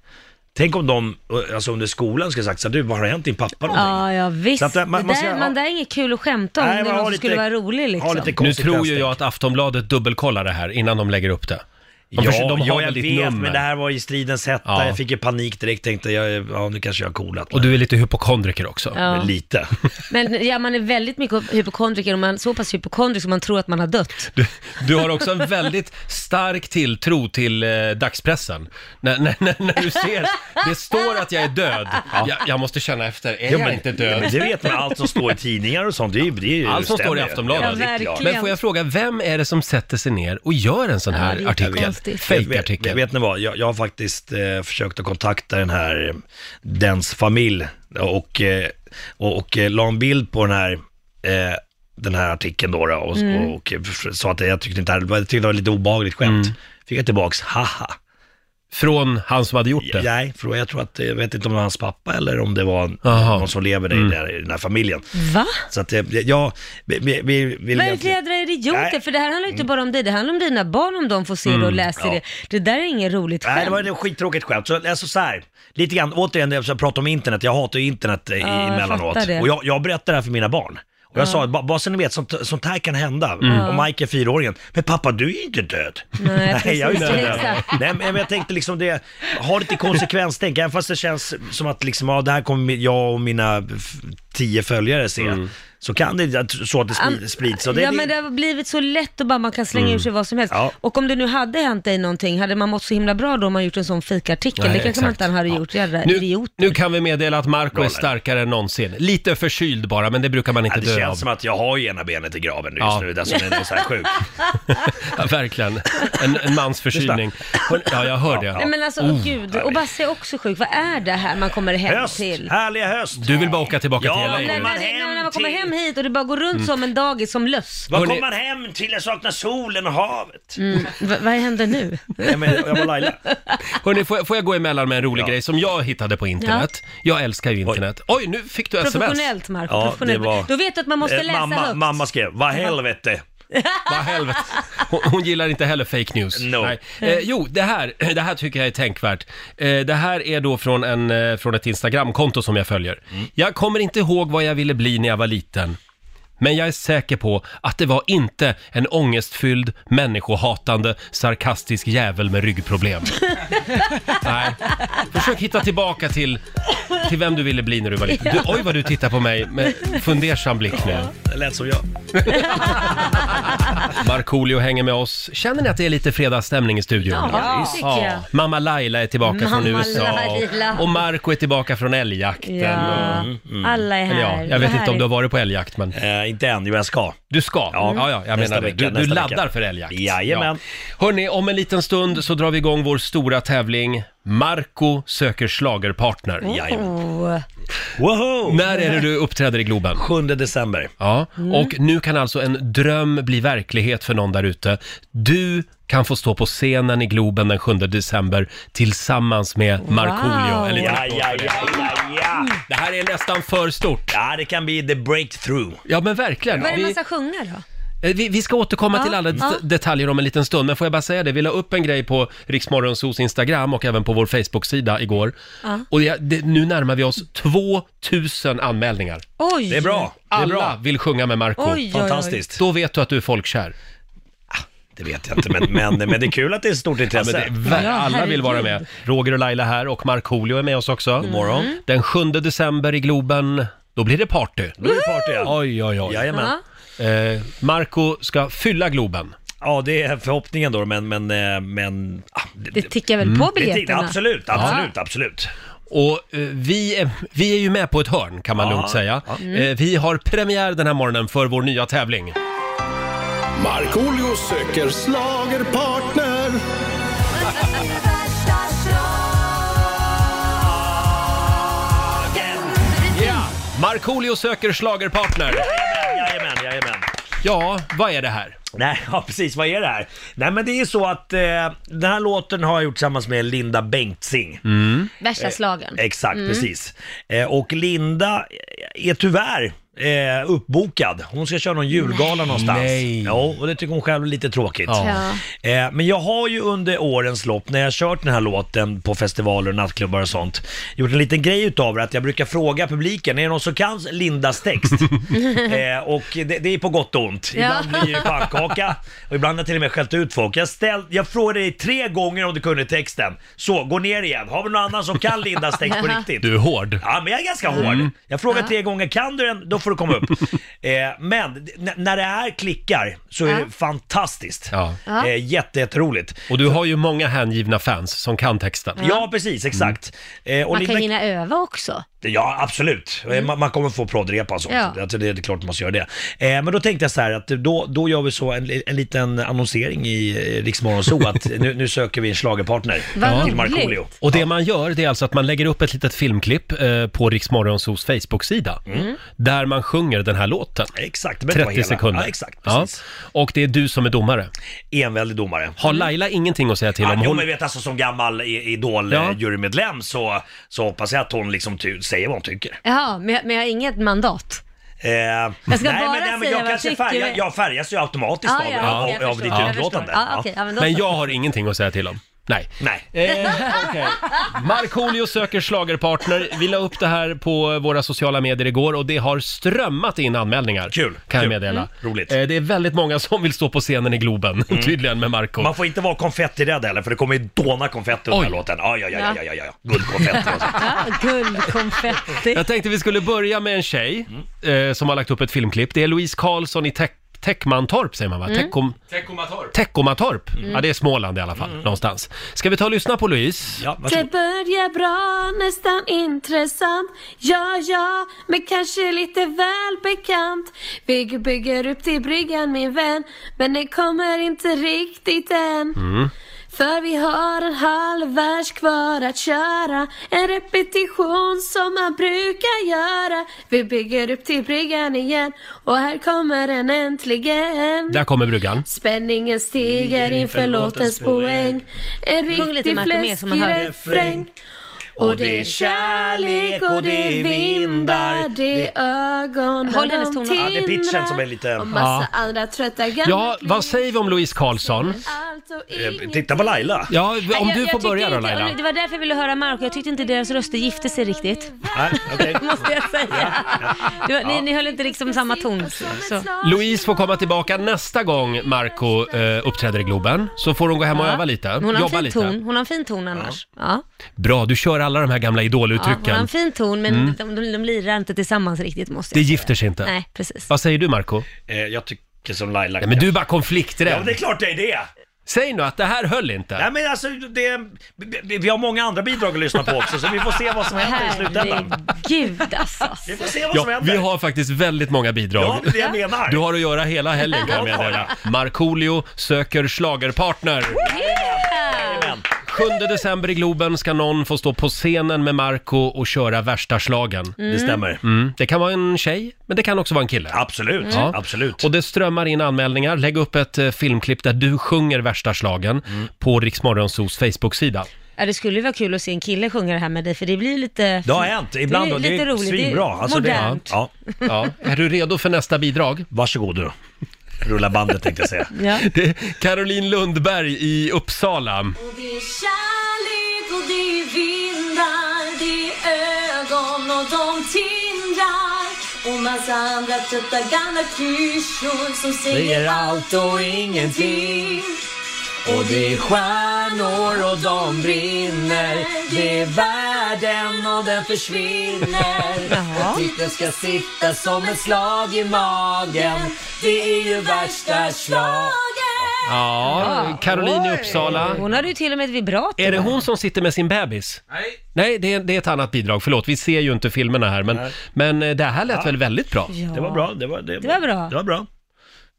Speaker 8: Tänk om de, alltså under skolan skulle ha sagt så här, du, vad har hänt din pappa någonting?
Speaker 2: Ja, ja visst.
Speaker 8: Så att, eh, man-
Speaker 2: det
Speaker 8: man
Speaker 2: där,
Speaker 8: ska- ja.
Speaker 2: man, det där är inget kul att skämta om. Nej, det är någon som skulle vara rolig liksom.
Speaker 8: ha lite
Speaker 1: Nu tror ju
Speaker 8: konsekvenstänk.
Speaker 1: jag att Aftonbladet dubbelkollar det här innan de lägger upp det. De, försöker- de har
Speaker 8: ja,
Speaker 1: väl
Speaker 8: jag
Speaker 1: ditt
Speaker 8: vet,
Speaker 1: nummer.
Speaker 8: men det här var i stridens hetta.
Speaker 1: Ja.
Speaker 8: Jag fick ju panik direkt, tänkte jag, ja nu kanske jag har coolat.
Speaker 1: Och du är lite hypokondriker också.
Speaker 2: Ja.
Speaker 8: Men Lite.
Speaker 2: Men ja, man är väldigt mycket hypokondriker och man är så pass hypokondrisk som man tror att man har dött.
Speaker 1: Du, du har också en väldigt stark tilltro till eh, dagspressen. När, när, när, när du ser, det står att jag är död. Jag, jag måste känna efter, är jag inte död?
Speaker 8: Men det vet man, alltså allt som står i tidningar och sånt, det är ju... Det är ju
Speaker 1: Allt som
Speaker 8: stämmer
Speaker 1: står i
Speaker 8: ju.
Speaker 1: Aftonbladet.
Speaker 2: Ja, verkligen.
Speaker 1: Men får jag fråga, vem är det som sätter sig ner och gör en sån
Speaker 2: Ja, det
Speaker 1: här
Speaker 2: är
Speaker 1: artikel?
Speaker 2: jättekonstigt.
Speaker 8: Vet- vet-
Speaker 1: Fake-artikel?
Speaker 8: Vet ni vad, jag, jag har faktiskt eh, försökt att kontakta den här, eh, dens familj och, eh, och, och eh, la en bild på den här, eh, den här artikeln då, då och,
Speaker 2: Mm.
Speaker 8: och, och eh, f- sa att jag tyckte, inte, det här- jag tyckte det var lite obehagligt skämt. Fick jag tillbaks, haha.
Speaker 1: Mm. Från han som hade gjort det?
Speaker 8: Nej, för jag tror att, eh, jag vet inte om det var hans pappa eller om det var
Speaker 1: Aha. Mm.
Speaker 8: någon som lever i den här- i den här familjen.
Speaker 2: Va?
Speaker 8: Så att, eh, jag, vi, vi, vi vill
Speaker 2: Vad är det för
Speaker 8: egentligen-
Speaker 2: jädra idioter?
Speaker 8: Nej. Mm.
Speaker 2: För det här handlar ju inte bara om dig, det handlar om dina barn om de får se det och läser
Speaker 8: ja.
Speaker 2: det. Det där är inget roligt
Speaker 8: Nej, det
Speaker 2: skämt.
Speaker 8: var ett skittråkigt skämt. Så, alltså, så här, lite grann, återigen, jag pratar om internet, jag hatar ju internet eh,
Speaker 2: Ja, jag
Speaker 8: emellanåt.
Speaker 2: fattar det.
Speaker 8: och jag, jag berättar det här för mina barn. Och jag sa, "Ba- bara så ni vet, sånt, sånt här kan hända. Och Mike är fyraåringen, men pappa du är ju inte död.
Speaker 2: Mm. Nej,
Speaker 8: jag är ju
Speaker 2: precis.
Speaker 8: inte död.
Speaker 2: Exakt.
Speaker 8: Nej, men jag tänkte liksom det, ha lite konsekvenstänk, även fast det känns som att liksom, ja, det här kommer jag och mina f- tio följare se. Så kan det så att det spri-
Speaker 2: Am-
Speaker 8: sprids. Och det,
Speaker 2: ja,
Speaker 8: det-
Speaker 2: men det har blivit så lätt att bara man kan slänga ur sig vad som helst.
Speaker 8: Ja.
Speaker 2: Och om det nu hade hänt dig någonting, hade man mått så himla bra då om man gjort en sån fikartikel?
Speaker 1: Nej,
Speaker 2: det kanske man
Speaker 1: exakt.
Speaker 2: inte hade gjort, jävla
Speaker 1: Nu,
Speaker 2: idiot.
Speaker 1: nu kan vi meddela att Marco är
Speaker 8: Roller.
Speaker 1: starkare än någonsin. Lite förkyld bara, men det brukar man inte
Speaker 8: det
Speaker 1: dö
Speaker 8: känns
Speaker 1: av.
Speaker 8: som att jag har ju ena benet i graven just
Speaker 1: Ja.
Speaker 8: nu, där som är så här sjuk.
Speaker 1: Ja, verkligen. En, en mans förkylning. Hör- Ja, jag hör
Speaker 2: Nej
Speaker 1: det. Oh.
Speaker 2: men alltså gud, och Basse är också sjuk. Vad är det här man kommer hem
Speaker 8: Oh, Höst!
Speaker 2: till?
Speaker 8: Härliga höst!
Speaker 1: Du vill bara åka tillbaka
Speaker 8: ja,
Speaker 1: till hela
Speaker 2: när,
Speaker 1: EU.
Speaker 2: när, när, när man kommer hem hit och det bara går runt som en dagis som löss.
Speaker 8: Vad
Speaker 1: Hörrni-
Speaker 8: kommer man hem till? Jag saknar solen och havet.
Speaker 2: V- vad händer nu?
Speaker 8: Nej, men jag var Laila.
Speaker 1: Hörni, får, jag- får jag gå emellan med en rolig grej som jag hittade på internet? Jag älskar ju internet. Oj, nu fick du sms.
Speaker 2: Professionellt Marco,
Speaker 8: Ja, det
Speaker 2: professionellt.
Speaker 8: var-
Speaker 2: Då vet du att man måste
Speaker 8: Eh,
Speaker 2: läsa
Speaker 8: mamma,
Speaker 2: högt.
Speaker 8: mamma skrev, vad helvete.
Speaker 1: Vad helvete. Hon, hon gillar inte heller fake news.
Speaker 8: No.
Speaker 1: Eh, jo, det här, det här tycker jag är tänkvärt. Eh, det här är då från, en, eh, från ett Instagramkonto som jag följer. Jag kommer inte ihåg vad jag ville bli när jag var liten. Men jag är säker på att det var inte en ångestfylld, människohatande, sarkastisk jävel med ryggproblem. Nej. Försök hitta tillbaka till, till vem du ville bli när du var liten. Du, oj vad du tittar på mig med fundersam blick nu.
Speaker 8: Det lät som jag.
Speaker 1: Markoolio hänger med oss. Känner ni att det är lite fredagsstämning i studion?
Speaker 2: Ja,
Speaker 1: Ja.
Speaker 2: det tycker jag.
Speaker 1: Mamma Laila är tillbaka från
Speaker 2: Mamma
Speaker 1: USA
Speaker 2: Laila.
Speaker 1: och Marco är tillbaka från älgjakten.
Speaker 2: Ja, alla är
Speaker 1: Mm, Eller
Speaker 2: här.
Speaker 1: ja, jag vet inte om du har varit på älgjakt men
Speaker 8: Eh, inte än, men jag ska.
Speaker 1: du ska. Ja, ja, jag
Speaker 8: Nästa
Speaker 1: menar det.
Speaker 8: vecka,
Speaker 1: Du, du
Speaker 8: nästa
Speaker 1: laddar
Speaker 8: vecka.
Speaker 1: för älgjakt.
Speaker 8: Jajamän.
Speaker 1: Ja. Hörni, om en liten stund så drar vi igång vår stora tävling Marco söker schlagerpartner.
Speaker 8: Jajamän.
Speaker 2: Oh.
Speaker 8: Woho!
Speaker 1: När är det du uppträder i Globen?
Speaker 8: 7 december.
Speaker 1: Ja, och nu kan alltså en dröm bli verklighet för någon där ute. Du kan få stå på scenen i Globen den 7 december tillsammans med Markoolio.
Speaker 2: Wow.
Speaker 1: En liten
Speaker 8: Ja,
Speaker 1: applåd
Speaker 8: ja,
Speaker 1: för det.
Speaker 8: ja, ja, ja.
Speaker 1: Det här är nästan för stort.
Speaker 8: Ja, det kan bli the breakthrough.
Speaker 1: Ja, men verkligen.
Speaker 2: Vad är det man
Speaker 1: Vi,
Speaker 2: ska sjunga då?
Speaker 1: eh, vi, vi ska återkomma
Speaker 2: Ja,
Speaker 1: till alla det-
Speaker 2: ja.
Speaker 1: detaljer om en liten stund, men får jag bara säga det, vi la upp en grej på Riksmorgonsos Instagram och även på vår Facebook-sida igår. Och jag, det, nu närmar vi oss 2000 anmälningar.
Speaker 2: Oj!
Speaker 8: Det är bra. Det är
Speaker 1: Alla
Speaker 8: bra.
Speaker 1: vill sjunga med Marco.
Speaker 2: Oj, oj, oj.
Speaker 8: Fantastiskt. Ah,
Speaker 1: Då vet du att du är folkkär.
Speaker 8: Det vet jag inte, men, men, men det är kul att det är ett stort
Speaker 1: Men det
Speaker 8: intresse.
Speaker 1: är väl,
Speaker 2: Ja,
Speaker 1: alla vill
Speaker 2: herregud.
Speaker 1: vara med. Roger och Laila här och Markoolio är med oss också. God morgon. Den 7 december i Globen, då blir det party.
Speaker 8: Då är det party ja.
Speaker 1: Oj, oj, oj.
Speaker 8: Jajamän.
Speaker 2: Ja.
Speaker 1: Eh, Marco ska fylla Globen.
Speaker 8: Ja, det är förhoppningen då, men... men, eh, men ah, det,
Speaker 2: Det tickar väl på
Speaker 8: det- det-
Speaker 2: biljetterna?
Speaker 8: absolut, absolut, absolut.
Speaker 1: Och eh, vi är, vi är ju med på ett hörn kan man
Speaker 8: Ja.
Speaker 1: lugnt säga. Eh, vi har premiär den här morgonen för vår nya tävling.
Speaker 6: Markoolio söker slagerpartner.
Speaker 1: Markoolio söker schlagerpartner.
Speaker 8: Jajamän, jajamän.
Speaker 1: Ja, vad är det här?
Speaker 8: Nej, ja, precis. Vad är det här? Nej, men det är så att eh, den här låten har jag gjort tillsammans med Linda Bengtzing.
Speaker 2: Värsta slagen.
Speaker 8: Mm. Exakt, precis. Eh, och Linda är tyvärr eh, uppbokad. Hon ska köra någon julgala någonstans.
Speaker 1: Nej.
Speaker 8: Jo, och det tycker hon själv är lite tråkigt.
Speaker 1: Ja.
Speaker 8: Eh, men jag har ju under årens lopp, när jag kört den här låten på festivaler och nattklubbar och sånt, gjort en liten grej utav det, att jag brukar fråga publiken, är det någon som kan Lindas text? eh, och det, det är på gott och ont. Ibland
Speaker 2: Ja.
Speaker 8: blir det pannkaka och ibland har jag till och med skällt ut folk. Jag, ställ, jag frågade dig tre gånger om du kunde texten. Så, gå ner igen. Har vi någon annan som kan Lindas text på riktigt?
Speaker 1: Du är hård.
Speaker 8: Ja, men jag är ganska hård.
Speaker 2: Mm.
Speaker 8: Jag frågar tre gånger, kan du den? Då får du komma upp. eh, men d- n- när det här klickar så är det fantastiskt.
Speaker 1: Ja.
Speaker 2: Ja.
Speaker 8: Eh, jätte, jätteroligt.
Speaker 1: Och du har ju många hängivna fans som kan texten.
Speaker 8: Ja, precis, exakt. Eh, och
Speaker 2: Mm. Man kan
Speaker 8: Linda-
Speaker 2: hinna öva också.
Speaker 8: Ja, absolut. Eh, Man, man kommer få proddrepa och sånt.
Speaker 2: Mm. Ja.
Speaker 8: Alltså, det är klart man måste göra det. Eh, men då tänkte jag så här att då, då gör vi så en, li- en liten annonsering i eh, Rix Morgon Zoo att nu, nu söker vi en schlagerpartner
Speaker 2: Vad
Speaker 8: till Markoolio.
Speaker 2: roligt.
Speaker 1: Och det man gör, det är alltså att man lägger upp ett litet filmklipp eh, på Riksmorgonsos Facebook-sida. Där man sjunger den här låten.
Speaker 8: Mm. Exakt, det behöver inte vara
Speaker 1: 30
Speaker 8: hela.
Speaker 1: sekunder.
Speaker 8: Ja, exakt, precis.
Speaker 1: Ja. Och det är du som är domare.
Speaker 8: Enväldig domare.
Speaker 1: Har Laila ingenting att säga till
Speaker 8: Ja,
Speaker 1: om?
Speaker 8: jo,
Speaker 1: Hon...
Speaker 8: men vet alltså som gammal i-
Speaker 1: Ja.
Speaker 8: Idol-jurymedlem så, så hoppas jag att hon liksom ty- säger vad hon tycker.
Speaker 2: Jaha, men jag, men jag har inget mandat.
Speaker 8: Eh, jag
Speaker 2: ska bara säga
Speaker 8: jag
Speaker 2: vad
Speaker 8: kanske
Speaker 2: jag
Speaker 8: färgar,
Speaker 2: tycker. Ah,
Speaker 8: jag färgas ju automatiskt av,
Speaker 2: okej,
Speaker 8: av, av ditt
Speaker 2: förstår, jag
Speaker 8: utlåtande.
Speaker 2: förstår. Ja, okej, ja, men då
Speaker 1: Men
Speaker 2: så.
Speaker 1: jag har ingenting att säga till om. Nej.
Speaker 8: Nej.
Speaker 1: Eh, okej. Markoolio söker schlagerpartner. Vi la upp det här på våra sociala medier igår och det har strömmat in anmälningar.
Speaker 8: Kul,
Speaker 1: Kan jag
Speaker 8: kul.
Speaker 1: meddela.
Speaker 8: Mm. Roligt. Mm.
Speaker 1: Eh, det är väldigt många som vill stå på scenen i Globen, tydligen med Marco.
Speaker 8: Man får inte vara konfettirädd heller för det kommer ju dåna konfetti under
Speaker 1: Oj.
Speaker 8: den här låten. Ja, ja, ja, ja, ja,
Speaker 2: Ja.
Speaker 8: ja, ja. Guldkonfetti och så.
Speaker 2: Ja, guldkonfetti.
Speaker 1: Jag tänkte vi skulle börja med en tjej
Speaker 8: Mm.
Speaker 1: eh, som har lagt upp ett filmklipp. Det är Louise Karlsson i Teck- Täckmantorp säger man va?
Speaker 9: Mm.
Speaker 1: Teckom-
Speaker 3: Teckomatorp.
Speaker 1: Teckomatorp. Ja, det är Småland i alla fall, någonstans. Ska vi ta och lyssna på Louise?
Speaker 8: Ja,
Speaker 9: Det
Speaker 8: varsågod.
Speaker 9: börjar bra, nästan intressant Ja, ja, men kanske lite väl bekant Vi bygger upp till bryggan min vän Men det kommer inte riktigt än För vi har en halv vers kvar att köra En repetition som man brukar göra Vi bygger upp till bryggan igen Och här kommer den äntligen
Speaker 1: Där kommer bryggan.
Speaker 9: Spänningen Mm. stiger inför låtens poäng En
Speaker 2: Sjung lite,
Speaker 9: riktig
Speaker 2: Marco, mer som man
Speaker 9: fläskig
Speaker 2: hör.
Speaker 9: refräng och det är kärlek och det är vindar, det är ögon
Speaker 2: Håll
Speaker 9: och
Speaker 2: hennes
Speaker 9: de
Speaker 2: toner.
Speaker 8: Ja, det är pitchen
Speaker 9: tindrar.
Speaker 8: som är lite-
Speaker 9: Och massa andra trötta gamla
Speaker 1: Ja, vad säger vi om Louise Karlsson?
Speaker 9: Allt och
Speaker 8: Eh,
Speaker 9: ingenting.
Speaker 8: Titta på Laila.
Speaker 1: Ja, om
Speaker 2: alltså, Jag-
Speaker 1: du
Speaker 2: jag
Speaker 1: får
Speaker 2: tycker
Speaker 1: börja då
Speaker 2: inte-
Speaker 1: Laila.
Speaker 2: om- Det var därför jag ville höra Marco. Jag tyckte inte deras röster gifte sig riktigt.
Speaker 8: Nej, okej.
Speaker 2: Måste jag säga. Det var, ni, ni höll inte liksom samma ton. Så.
Speaker 1: Louise får komma tillbaka nästa gång Marco eh, uppträder i Globen. Så får hon gå hem och öva lite.
Speaker 2: Men Hon har en
Speaker 1: Jobba
Speaker 2: fin
Speaker 1: lite.
Speaker 2: ton. Hon har en fin ton annars. Ja.
Speaker 1: Bra, du kör alla de här gamla
Speaker 2: Ja, hon har en
Speaker 1: idoluttrycken.
Speaker 2: fin ton, men de, de, de lirar inte tillsammans riktigt måste
Speaker 1: Det
Speaker 2: jag
Speaker 1: gifter sig
Speaker 2: säga.
Speaker 1: inte.
Speaker 2: Nej, precis.
Speaker 1: Vad säger du Marco?
Speaker 8: Eh, Jag tycker som Laila.
Speaker 1: Nej men du är
Speaker 8: Ja, men det
Speaker 1: bara
Speaker 8: är
Speaker 1: konflikträdd.
Speaker 8: klart det är det.
Speaker 1: Säg nu att det här höll inte.
Speaker 8: Nej men alltså, det, vi vi har många andra bidrag att lyssna på också, så vi får se vad som händer i slutändan.
Speaker 2: Herregud alltså.
Speaker 8: Vi får se vad som
Speaker 1: Ja,
Speaker 8: händer.
Speaker 1: vi har faktiskt väldigt många bidrag.
Speaker 8: Ja, det är det jag menar.
Speaker 1: Du har att göra hela helgen kan jag meddela. Markoolio söker schlagerpartner. 7 december i Globen ska någon få stå på scenen med Marco och köra värsta slagen.
Speaker 8: Det stämmer.
Speaker 1: Mm. Det kan vara en tjej, men det kan också vara en kille. Mm.
Speaker 8: Absolut,
Speaker 1: Ja.
Speaker 8: absolut.
Speaker 1: Och det strömmar in anmälningar. Lägg upp ett eh, filmklipp där du sjunger värsta slagen
Speaker 8: Mm.
Speaker 1: på Riksmorgonsos Facebook-sida.
Speaker 2: Ja, det skulle ju vara kul att se en kille sjunga det här med dig, för det blir lite...
Speaker 8: Det har hänt ibland
Speaker 2: Det
Speaker 8: och
Speaker 2: är
Speaker 8: det
Speaker 2: lite
Speaker 8: är
Speaker 2: roligt. Det är
Speaker 8: svinbra. Alltså, det-
Speaker 2: modernt.
Speaker 8: ja,
Speaker 1: Ja. Är du redo för nästa bidrag?
Speaker 8: varsågod du. Rulla bandet tänkte jag säga.
Speaker 2: Ja.
Speaker 1: Det är Caroline Lundberg i Uppsala.
Speaker 9: Och det är kärlek och det är vindar, det är ögon och de tindrar och massa andra trötta gamla klyschor som säger allt och ingenting.
Speaker 4: Och det är stjärnor och de brinner Det är världen och den försvinner
Speaker 2: Jaha.
Speaker 4: Titeln ska sitta som ett slag i magen Det är ju värsta slag
Speaker 1: Ja, Caroline i Uppsala.
Speaker 2: Hon hade ju till och med ett vibrato.
Speaker 1: Är det hon som sitter med sin bebis?
Speaker 3: Nej.
Speaker 1: Nej, det är, det är ett annat bidrag. Förlåt, vi ser ju inte filmerna här. Men, men eh, det här lät väl väldigt bra?
Speaker 2: Ja.
Speaker 8: Det var bra. Det var, det,
Speaker 2: Det var bra.
Speaker 8: Det var bra.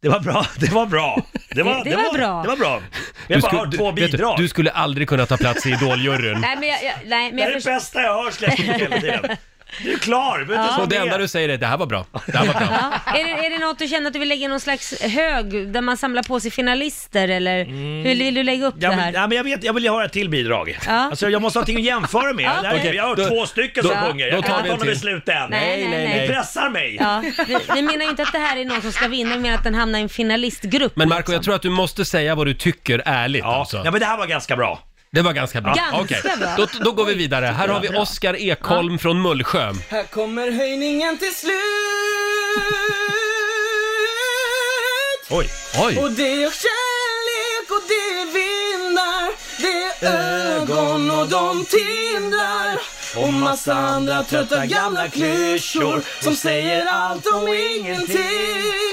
Speaker 8: Det var bra. Det var bra. Det var,
Speaker 2: Det var bra.
Speaker 8: Det var bra. Vi har bara hört två
Speaker 1: vet
Speaker 8: bidrag.
Speaker 1: Du, du skulle aldrig kunna ta plats i Idoljuryn.
Speaker 2: Nej, men jag, jag, nej, men
Speaker 8: det
Speaker 2: jag
Speaker 8: är det
Speaker 2: förstår.
Speaker 8: bästa jag hör släppt hela tiden. Du är klar. Vet du,
Speaker 1: Och
Speaker 8: som
Speaker 1: det
Speaker 8: är.
Speaker 1: enda du säger är det här var bra. Det här var bra.
Speaker 2: Ja. Är, det, är det något du känner att du vill lägga i någon slags hög där man samlar på sig finalister eller hur vill du lägga upp
Speaker 8: Mm. Ja,
Speaker 2: det
Speaker 8: men,
Speaker 2: här?
Speaker 8: ja, men jag, vet, jag vill ju ha ett till bidrag.
Speaker 2: Ja.
Speaker 8: Alltså, jag måste ha någonting att jämföra med. Det här,
Speaker 1: Okej,
Speaker 8: jag har hört
Speaker 1: då-
Speaker 8: två stycken som
Speaker 1: då-
Speaker 8: sjunger.
Speaker 1: då
Speaker 8: Jag
Speaker 1: tar
Speaker 8: kan
Speaker 1: vi
Speaker 8: inte
Speaker 1: en
Speaker 8: ta något
Speaker 1: till.
Speaker 8: beslut än.
Speaker 2: Nej, nej,
Speaker 8: Ni
Speaker 2: nej.
Speaker 8: pressar mig.
Speaker 2: Ja, vi, vi menar ju inte att det här är någon som ska vinna, vi menar att den hamnar i en finalistgrupp.
Speaker 1: Men Marco, jag tror att du måste säga vad du tycker ärligt
Speaker 8: Ja.
Speaker 1: alltså.
Speaker 8: ja, men det här var ganska bra.
Speaker 1: Det var ganska bra.
Speaker 2: Ganska
Speaker 1: Okej.
Speaker 2: bra.
Speaker 1: Då, då går vi vidare. Här har vi Oskar Ekholm från Mullsjö.
Speaker 4: Här kommer höjningen till slut
Speaker 1: Oj. Oj.
Speaker 4: Och det är kärlek och det är vindar Det är ögon och de tindrar Och massa andra trötta gamla klyschor Som säger allt om ingenting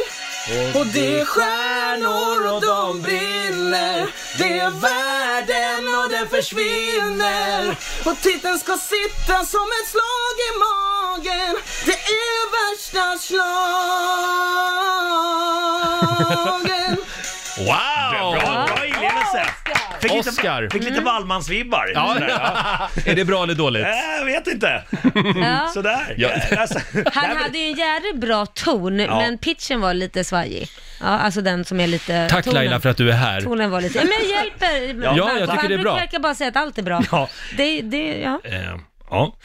Speaker 4: Och det är stjärnor och de brinner Det är världen och den försvinner Och titeln ska sitta som ett slag i magen Det är värsta slagen
Speaker 1: Wow!
Speaker 8: Bra, bra inlevelse. Fick lite,
Speaker 1: Oscar.
Speaker 8: fick
Speaker 2: Mm.
Speaker 8: lite Wallmansvibbar.
Speaker 1: Ja.
Speaker 8: Sådär, ja.
Speaker 1: Är det bra eller dåligt?
Speaker 8: Nej, Jag vet inte.
Speaker 2: Ja.
Speaker 8: Mm. Sådär.
Speaker 1: Ja.
Speaker 8: Alltså, nej,
Speaker 2: Han
Speaker 8: men-
Speaker 2: hade ju en jävligt bra ton, men pitchen var lite svajig. Ja, alltså den som är lite...
Speaker 1: Tack
Speaker 2: tonen.
Speaker 1: Laila för att du är här.
Speaker 2: Tonen var lite... Men jag hjälper!
Speaker 1: Ja, jag
Speaker 2: Marco.
Speaker 1: tycker
Speaker 2: Han
Speaker 1: det är bra.
Speaker 2: brukar- verkar bara säga att allt är bra.
Speaker 8: Ja.
Speaker 2: Det, det, ja.
Speaker 8: Eh, ja.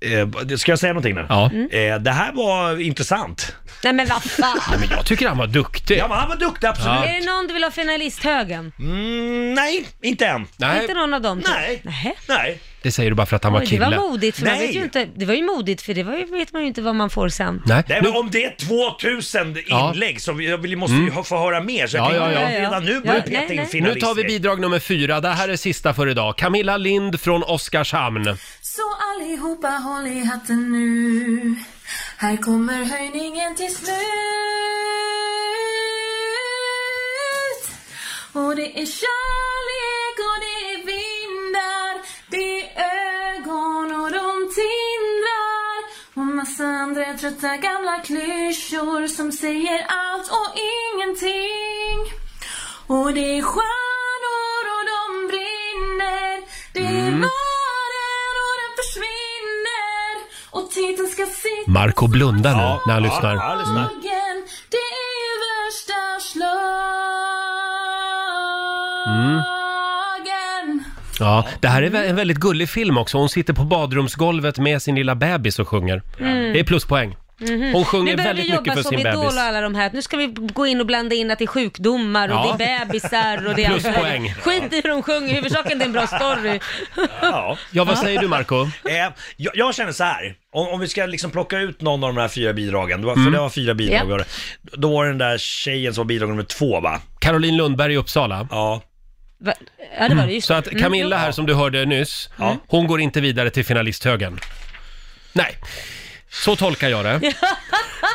Speaker 8: Eh, ska jag säga någonting nu?
Speaker 1: Ja.
Speaker 2: Mm.
Speaker 8: Eh, det här var intressant.
Speaker 2: Nej men vad fan!
Speaker 1: Men jag tycker han var duktig.
Speaker 8: Ja, men han var duktig, absolut.
Speaker 2: Är det någon du vill ha finalisthögen?
Speaker 8: Mm, nej, inte än.
Speaker 1: Nej,
Speaker 2: Inte någon av dem? typ?
Speaker 8: Nej.
Speaker 2: Nähä?
Speaker 8: Nej.
Speaker 1: det säger du bara för att han var
Speaker 2: Oj, det var
Speaker 1: kille.
Speaker 2: modigt, för man
Speaker 8: Nej.
Speaker 2: vet ju inte, det var ju modigt för det var ju, vet man ju inte vad man får sen.
Speaker 1: Nej.
Speaker 8: Nej,
Speaker 1: Nu,
Speaker 8: men om det är 2000
Speaker 1: Ja. Mm.
Speaker 8: inlägg så vi, jag vill- måste ju ha- få höra mer. Så jag
Speaker 1: Ja,
Speaker 8: kan ju
Speaker 1: ja, ja.
Speaker 8: inte redan nu
Speaker 2: Ja,
Speaker 8: börja
Speaker 2: nej,
Speaker 8: peta in
Speaker 2: nej.
Speaker 1: nu
Speaker 8: finalister.
Speaker 1: tar vi bidrag nummer fyra. Det här är sista för idag. Camilla Lind från Oskarshamn.
Speaker 9: Så allihopa håll i hatten nu Här kommer höjningen till slut Och det är kärlek och det är vindar Det är ögon och de tindrar Och massa andra trötta gamla klyschor Som säger allt och ingenting Och det är stjärnor och de världen och den försvinner och titeln ska sitta
Speaker 1: Marco blundar nu när han lyssnar.
Speaker 8: Ja, lyssnar.
Speaker 9: dagen. Det är ju värsta slagen.
Speaker 1: Mm. Ja, det här är vä- en väldigt gullig film också. Hon sitter på badrumsgolvet med sin lilla bebis och sjunger. Det är pluspoäng. Hon sjunger
Speaker 2: Nu Mm. Mhm. börjar vi
Speaker 1: väldigt mycket
Speaker 2: jobba
Speaker 1: för
Speaker 2: som
Speaker 1: sin
Speaker 2: Idol
Speaker 1: bebis.
Speaker 2: och alla de här. Nu ska vi gå in och blanda in att det är sjukdomar och
Speaker 1: Ja.
Speaker 2: det är bebisar och det är allt
Speaker 1: Pluspoäng.
Speaker 2: möjligt. Skit i hur de sjunger, huvudsaken det är en bra story.
Speaker 8: Ja.
Speaker 1: Ja, vad säger du Marco?
Speaker 8: Eh, jag, jag känner så här, om, om vi ska liksom plocka ut någon av de här fyra bidragen, det var,
Speaker 1: Mm.
Speaker 8: för det var fyra bidrag,
Speaker 2: Ja.
Speaker 8: var det. då var det den där tjejen som var bidrag nummer två va?
Speaker 1: Caroline Lundberg i Uppsala.
Speaker 8: Ja.
Speaker 2: Va? Ja, det var det just
Speaker 1: Så att
Speaker 2: Mm,
Speaker 1: Camilla
Speaker 2: jo.
Speaker 1: här som du hörde nyss, hon går inte vidare till finalisthögen. Nej, så tolkar jag det.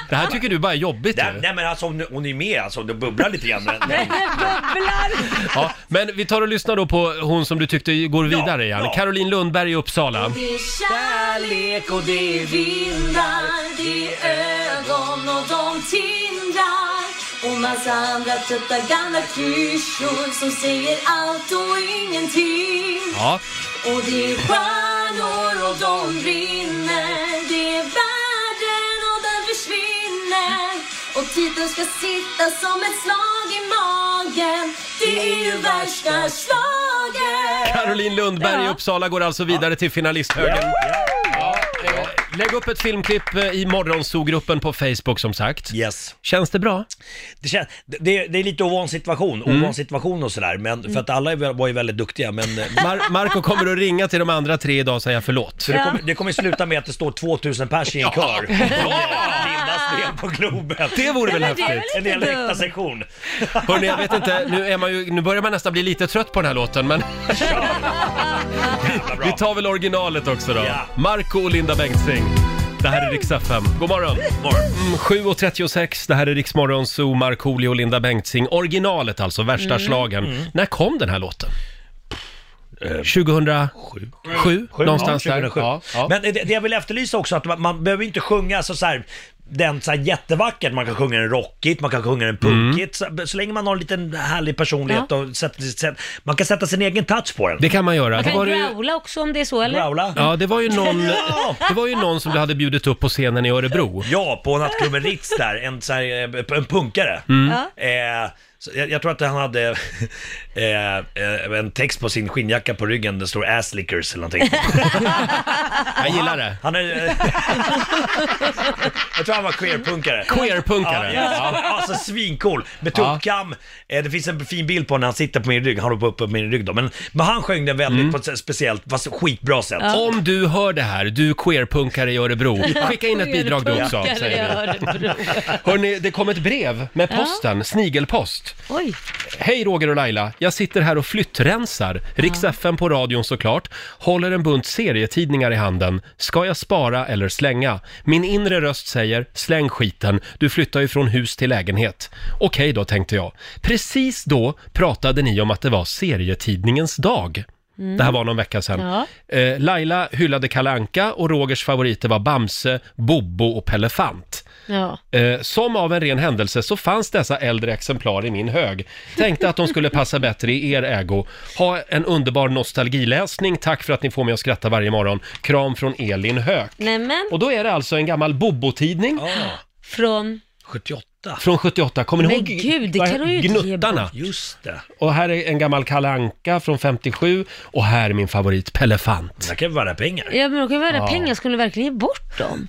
Speaker 1: Det här tycker du bara är jobbigt
Speaker 8: Nej,
Speaker 1: ju.
Speaker 8: nej men alltså hon, hon är med alltså, det bubblar lite grann. Men,
Speaker 2: Det bubblar!
Speaker 1: Ja, men vi tar och lyssnar då på hon som du tyckte går vidare igen.
Speaker 8: ja.
Speaker 1: Caroline Lundberg i Uppsala.
Speaker 9: Det är kärlek och det är vindar Det är ögon och de tindrar Och massa andra trötta gamla klyschor som säger allt och ingenting
Speaker 1: Ja,
Speaker 9: Och det är stjärnor och de brinner Det är världen och den försvinner Och titeln ska sitta som ett slag i magen Det är ju värsta slaget
Speaker 1: Caroline Lundberg i Uppsala går alltså vidare till finalisthögen. eh, Lägg upp ett filmklipp eh, i morgonsogruppen på Facebook som sagt.
Speaker 8: yes.
Speaker 1: Känns det bra?
Speaker 8: Det, känns, det- det, det är lite ovan situation,
Speaker 1: Mm.
Speaker 8: ovan situation och sådär, men
Speaker 2: Mm.
Speaker 8: för att alla är- var ju väldigt duktiga, men eh,
Speaker 1: Mar- Marco kommer att ringa till de andra tre idag och säga förlåt.
Speaker 8: så det, kommer, det kommer sluta med att det står 2000 pers i en kör. Lindas ben på Globen.
Speaker 1: Det vore väl
Speaker 2: men det är
Speaker 1: häftigt?
Speaker 8: En
Speaker 2: väl inte
Speaker 8: hel
Speaker 2: dumt.
Speaker 8: läktarsektion.
Speaker 1: Hörrni, jag vet inte, nu, är man ju, nu börjar man nästan bli lite trött på den här låten, men
Speaker 8: Jävla
Speaker 1: vi
Speaker 8: bra.
Speaker 1: tar väl originalet också då.
Speaker 8: Ja.
Speaker 1: Marco och Linda Bengtzing. Det här är Rix FM. God morgon! Mm, 7.36, det här är Rix Morgon, Zoo, Markoolio och Linda Bengtzing. Originalet alltså, värsta
Speaker 8: Mm,
Speaker 1: schlagern. När kom den här låten? 2007?
Speaker 8: Sju,
Speaker 1: Någonstans
Speaker 8: ja,
Speaker 1: där.
Speaker 8: 2007.
Speaker 1: Ja, ja.
Speaker 8: Men det, det jag vill efterlysa också att man, man behöver inte sjunga så, så här, den så här jättevackert, man kan sjunga den rockigt, man kan sjunga den
Speaker 1: Mm.
Speaker 8: punkigt, så, så länge man har en liten härlig personlighet och sätter, sätt- man kan sätta sin egen touch på den.
Speaker 1: det kan man göra.
Speaker 2: Man
Speaker 1: Det var
Speaker 2: kan
Speaker 1: ju-
Speaker 2: growla också om det är så, eller?
Speaker 8: Raula? Ja.
Speaker 1: Ja, det var ju någon, det var ju någon som du hade bjudit upp på scenen i Örebro.
Speaker 8: på nattklubben Ritz där, en, så här, eh, en punkare.
Speaker 1: Mm.
Speaker 8: Eh, så jag, jag tror att han hade eh, eh, en text på sin skinnjacka på ryggen, det står ass lickers eller någonting.
Speaker 1: Jag gillar det.
Speaker 8: Han är... eh, jag tror han var queerpunkare.
Speaker 1: Queerpunkare.
Speaker 8: Ja, yes. Alltså svincool. Med tuppkam. Eh, Det finns en fin bild på när han sitter på min rygg. Han håller på uppe på min rygg då. Men, men han sjöng den väldigt på ett speciellt, fast skitbra sätt.
Speaker 1: Mm. Om du hör det här, du queerpunkare i Örebro, skicka in ett bidrag du också,
Speaker 2: Punkare i
Speaker 1: säger vi.
Speaker 2: Örebro.
Speaker 1: Hörni, det kom ett brev med posten, snigelpost.
Speaker 2: Oj,
Speaker 1: Hej Roger och Laila, jag sitter här och flyttrensar, Rix FM på radion såklart, håller en bunt serietidningar i handen. Ska jag spara eller slänga? Min inre röst säger, släng skiten, du flyttar ju från hus till lägenhet. Okej då, tänkte jag. Precis då pratade ni om att det var serietidningens dag. Det här var någon vecka sedan.
Speaker 2: Mm. Ja.
Speaker 1: Eh, Laila hyllade Kalle Anka och Rogers favoriter var Bamse, Bobbo och Pelle Fant.
Speaker 2: ja.
Speaker 1: Eh, som av en ren händelse så fanns dessa äldre exemplar i min hög. Tänkte att de skulle passa bättre i er ägo. Ha en underbar nostalgiläsning. Tack för att ni får mig att skratta varje morgon. Kram från Elin Höök.
Speaker 2: Nämen,
Speaker 1: Och då är det alltså en gammal Bobo-tidning
Speaker 2: från...
Speaker 8: 78.
Speaker 1: från 78. Kommer ni
Speaker 2: Men
Speaker 1: ihåg
Speaker 2: gud, det kan
Speaker 1: vad-
Speaker 2: du ju inte ge
Speaker 1: Gnuttarna?
Speaker 8: Just det.
Speaker 1: Och här är en gammal Kalle Anka från 57 och här är min favorit Pelle Fant.
Speaker 8: Det kan ju vara pengar.
Speaker 2: Ja, men de kan ju vara pengar, skulle du verkligen ge bort dem?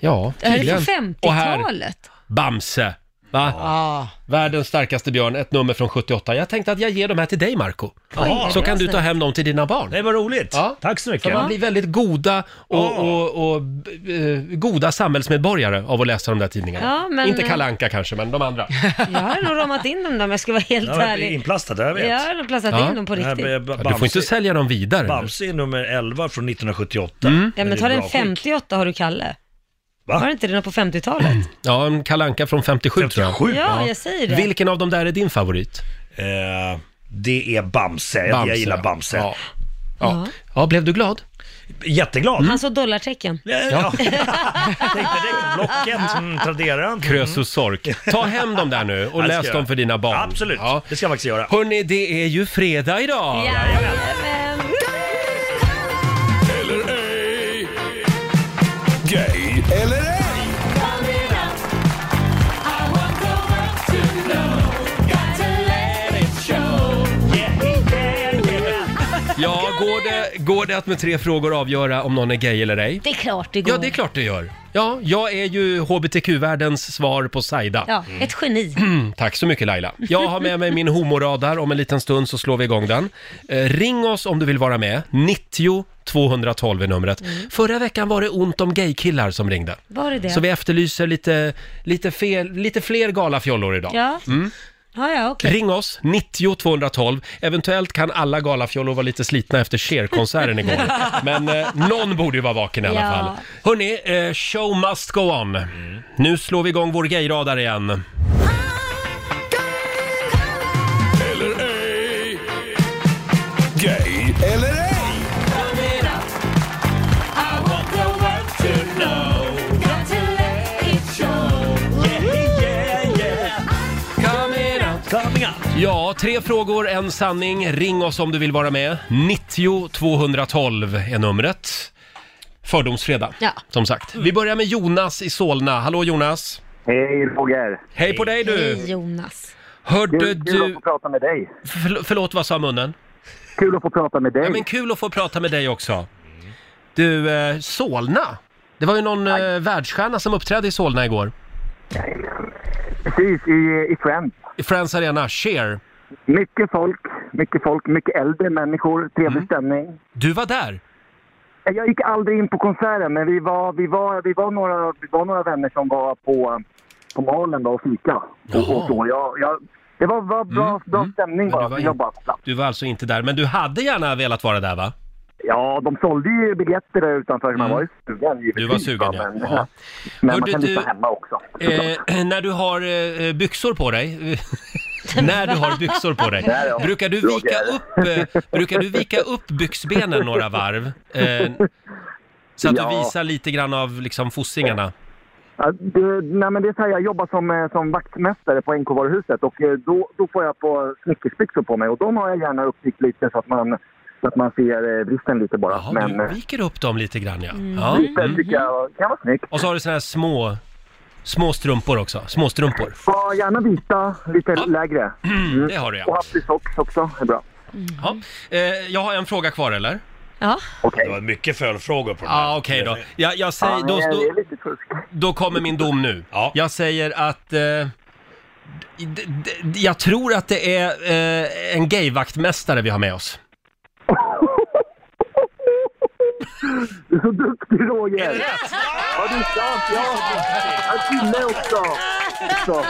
Speaker 1: Ja,
Speaker 2: Det här är
Speaker 1: tydligen.
Speaker 2: från
Speaker 1: Och här
Speaker 2: 50-talet.
Speaker 1: Bamse. Va?
Speaker 2: Ah.
Speaker 1: Världens starkaste björn, ett nummer från 78. Jag tänkte att jag ger de här till dig Marco.
Speaker 8: Ja.
Speaker 1: Så kan du ta hem dem till dina barn.
Speaker 8: Det var roligt.
Speaker 1: Ja.
Speaker 8: Tack så mycket.
Speaker 1: För man blir väldigt goda och,
Speaker 8: Ja.
Speaker 1: och, och, b- eh, goda samhällsmedborgare av att läsa de där tidningarna.
Speaker 2: Ja, men-
Speaker 1: Inte Kalle Anka kanske, men de andra.
Speaker 2: Jag har nog ramat in dem där om jag ska vara helt
Speaker 8: Det har varit
Speaker 2: ärlig.
Speaker 8: inplastat, jag vet.
Speaker 2: Jag har nog platsat
Speaker 1: Ja.
Speaker 2: in dem på
Speaker 8: Det här
Speaker 2: riktigt.
Speaker 8: med Bamse,
Speaker 1: Du får inte sälja dem vidare. Mm.
Speaker 8: Bamse är nummer 11 från 1978.
Speaker 2: Ja,
Speaker 8: Det
Speaker 2: men
Speaker 8: är
Speaker 2: ta
Speaker 8: bra
Speaker 2: den
Speaker 8: skick.
Speaker 2: 58 har du Kalle.
Speaker 8: Va?
Speaker 2: Var det inte det någon på 50-talet?
Speaker 1: Ja, en Kalle Anka från 57, tror
Speaker 8: 57?
Speaker 2: Ja, jag säger det.
Speaker 1: jag. Vilken av dem där är din favorit?
Speaker 8: Eh, det är Bamse. Jag-
Speaker 1: Bamse,
Speaker 8: Jag gillar
Speaker 1: ja.
Speaker 8: Bamse.
Speaker 1: Ja. Ja. ja, blev du glad?
Speaker 8: Jätteglad.
Speaker 2: Han såg dollartecken.
Speaker 8: Ja. ja. Tänkte direkt Blocket, mm, Traderan.
Speaker 1: Krös och sork. Ta hem dem där nu och
Speaker 8: ska
Speaker 1: läs
Speaker 8: jag.
Speaker 1: dem för dina barn.
Speaker 8: Absolut,
Speaker 1: Ja.
Speaker 8: det ska jag faktiskt göra.
Speaker 1: Hörni, det är ju fredag idag!
Speaker 2: Jajamän.
Speaker 6: Gay eller ej?
Speaker 1: Ja, går det, går det att med tre frågor avgöra om någon är gay eller ej?
Speaker 2: Det är klart det går.
Speaker 1: Ja, det är klart det gör. Ja, jag är ju hbtq-världens svar på Saida.
Speaker 2: Ja, ett geni.
Speaker 1: Mm, Tack så mycket Laila. Jag har med mig min homoradar, om en liten stund så slår vi igång den. Eh, ring oss om du vill vara med, 90 212 är numret. Förra veckan var det ont om gaykillar som ringde.
Speaker 2: Var Mm. det det?
Speaker 1: Så vi efterlyser lite, lite, fel, lite fler galafjollor idag. Mm.
Speaker 2: Ja. Ja, ja, okej.
Speaker 1: Ring oss, 90 212. Eventuellt kan alla galafjollor vara lite slitna efter Cher-konserten igår. Men eh, någon borde ju vara vaken i alla
Speaker 2: Ja.
Speaker 1: fall. Hörni, eh, show must go on. Nu slår vi igång vår gayradar igen.
Speaker 6: Eller ej? Gay eller ej?
Speaker 1: Ja, tre frågor, en sanning. Ring oss om du vill vara med. 90 212 är numret. Fördomsfredag,
Speaker 2: Ja.
Speaker 1: som sagt. Vi börjar med Jonas i Solna. Hallå Jonas!
Speaker 10: Hej Roger!
Speaker 1: Hej på dig du!
Speaker 2: Hej Jonas.
Speaker 1: Hörde
Speaker 10: Kul, kul att
Speaker 1: du...
Speaker 10: få prata med dig.
Speaker 1: Förl- förlåt, vad sa munnen?
Speaker 10: Kul att få prata med dig.
Speaker 1: Ja, men kul att få prata med dig också. Du, eh, Solna. Det var ju någon eh, världsstjärna som uppträdde i Solna igår.
Speaker 10: Precis, i, i Friends.
Speaker 1: I Friends Arena, Cher.
Speaker 10: Mycket folk, mycket folk, mycket äldre människor, trevlig
Speaker 1: Mm.
Speaker 10: stämning.
Speaker 1: Du var där.
Speaker 10: Jag gick aldrig in på konserten, men vi var, vi var, vi var, några, vi var några vänner som var på, på malen då och fika. Och, och så. Jag, jag, det var, var bra, bra stämning
Speaker 1: Mm, du
Speaker 10: bara.
Speaker 1: var
Speaker 10: jag
Speaker 1: in-
Speaker 10: bara slapp.
Speaker 1: Du var alltså inte där, men du hade gärna velat vara där va?
Speaker 10: Ja, de sålde ju biljetter där utanför, man var ju sugen givetvis.
Speaker 1: Mm. Du var sugen,
Speaker 10: va,
Speaker 1: ja.
Speaker 10: Men,
Speaker 1: Ja.
Speaker 10: men
Speaker 1: Hörde
Speaker 10: man kan lyssna
Speaker 1: du-
Speaker 10: hemma också. såklart.
Speaker 1: Eh, när du har eh, byxor på dig, när du har byxor på dig,
Speaker 10: Nej då,
Speaker 1: brukar du vika upp, eh, brukar du vika upp byxbenen några varv? Eh, så att du
Speaker 10: Ja.
Speaker 1: visar lite grann av liksom fossingarna.
Speaker 10: Ja, det, nej men det är så här, jag jobbar som, eh, som vaktmästare på NK-varuhuset och eh, då, då får jag på snickersbyxor på mig och de har jag gärna uppvikt lite så att man, så att man ser eh, bristen lite bara.
Speaker 1: Jaha,
Speaker 10: men
Speaker 1: du
Speaker 10: eh,
Speaker 1: viker upp dem lite grann ja. ja.
Speaker 10: lite
Speaker 1: Mm.
Speaker 10: tycker jag kan vara snyggt.
Speaker 1: Och så har du såna här små, små strumpor också. Små strumpor.
Speaker 10: Ja, gärna vita, lite lägre.
Speaker 1: Mm,
Speaker 10: Mm.
Speaker 1: Det har du
Speaker 10: Och
Speaker 1: ja.
Speaker 10: happy socks också är bra.
Speaker 1: ja. Eh, jag har en fråga kvar eller?
Speaker 2: Ja,
Speaker 10: Okej.
Speaker 8: Det var mycket följdfrågor på den
Speaker 1: Ja,
Speaker 8: här.
Speaker 1: okej då. Jag, jag
Speaker 10: Ja,
Speaker 1: säger,
Speaker 10: men
Speaker 1: då,
Speaker 10: det- det
Speaker 1: då,
Speaker 10: är lite fusk.
Speaker 1: då kommer min dom nu.
Speaker 8: Ja.
Speaker 1: Jag säger att... Eh, d- d- d- jag tror att det är eh, en gayvaktmästare vi har med oss.
Speaker 10: Du är så duktig Roger! Är det rätt? Ja, det är sant! Ja! Jag gillar också! också.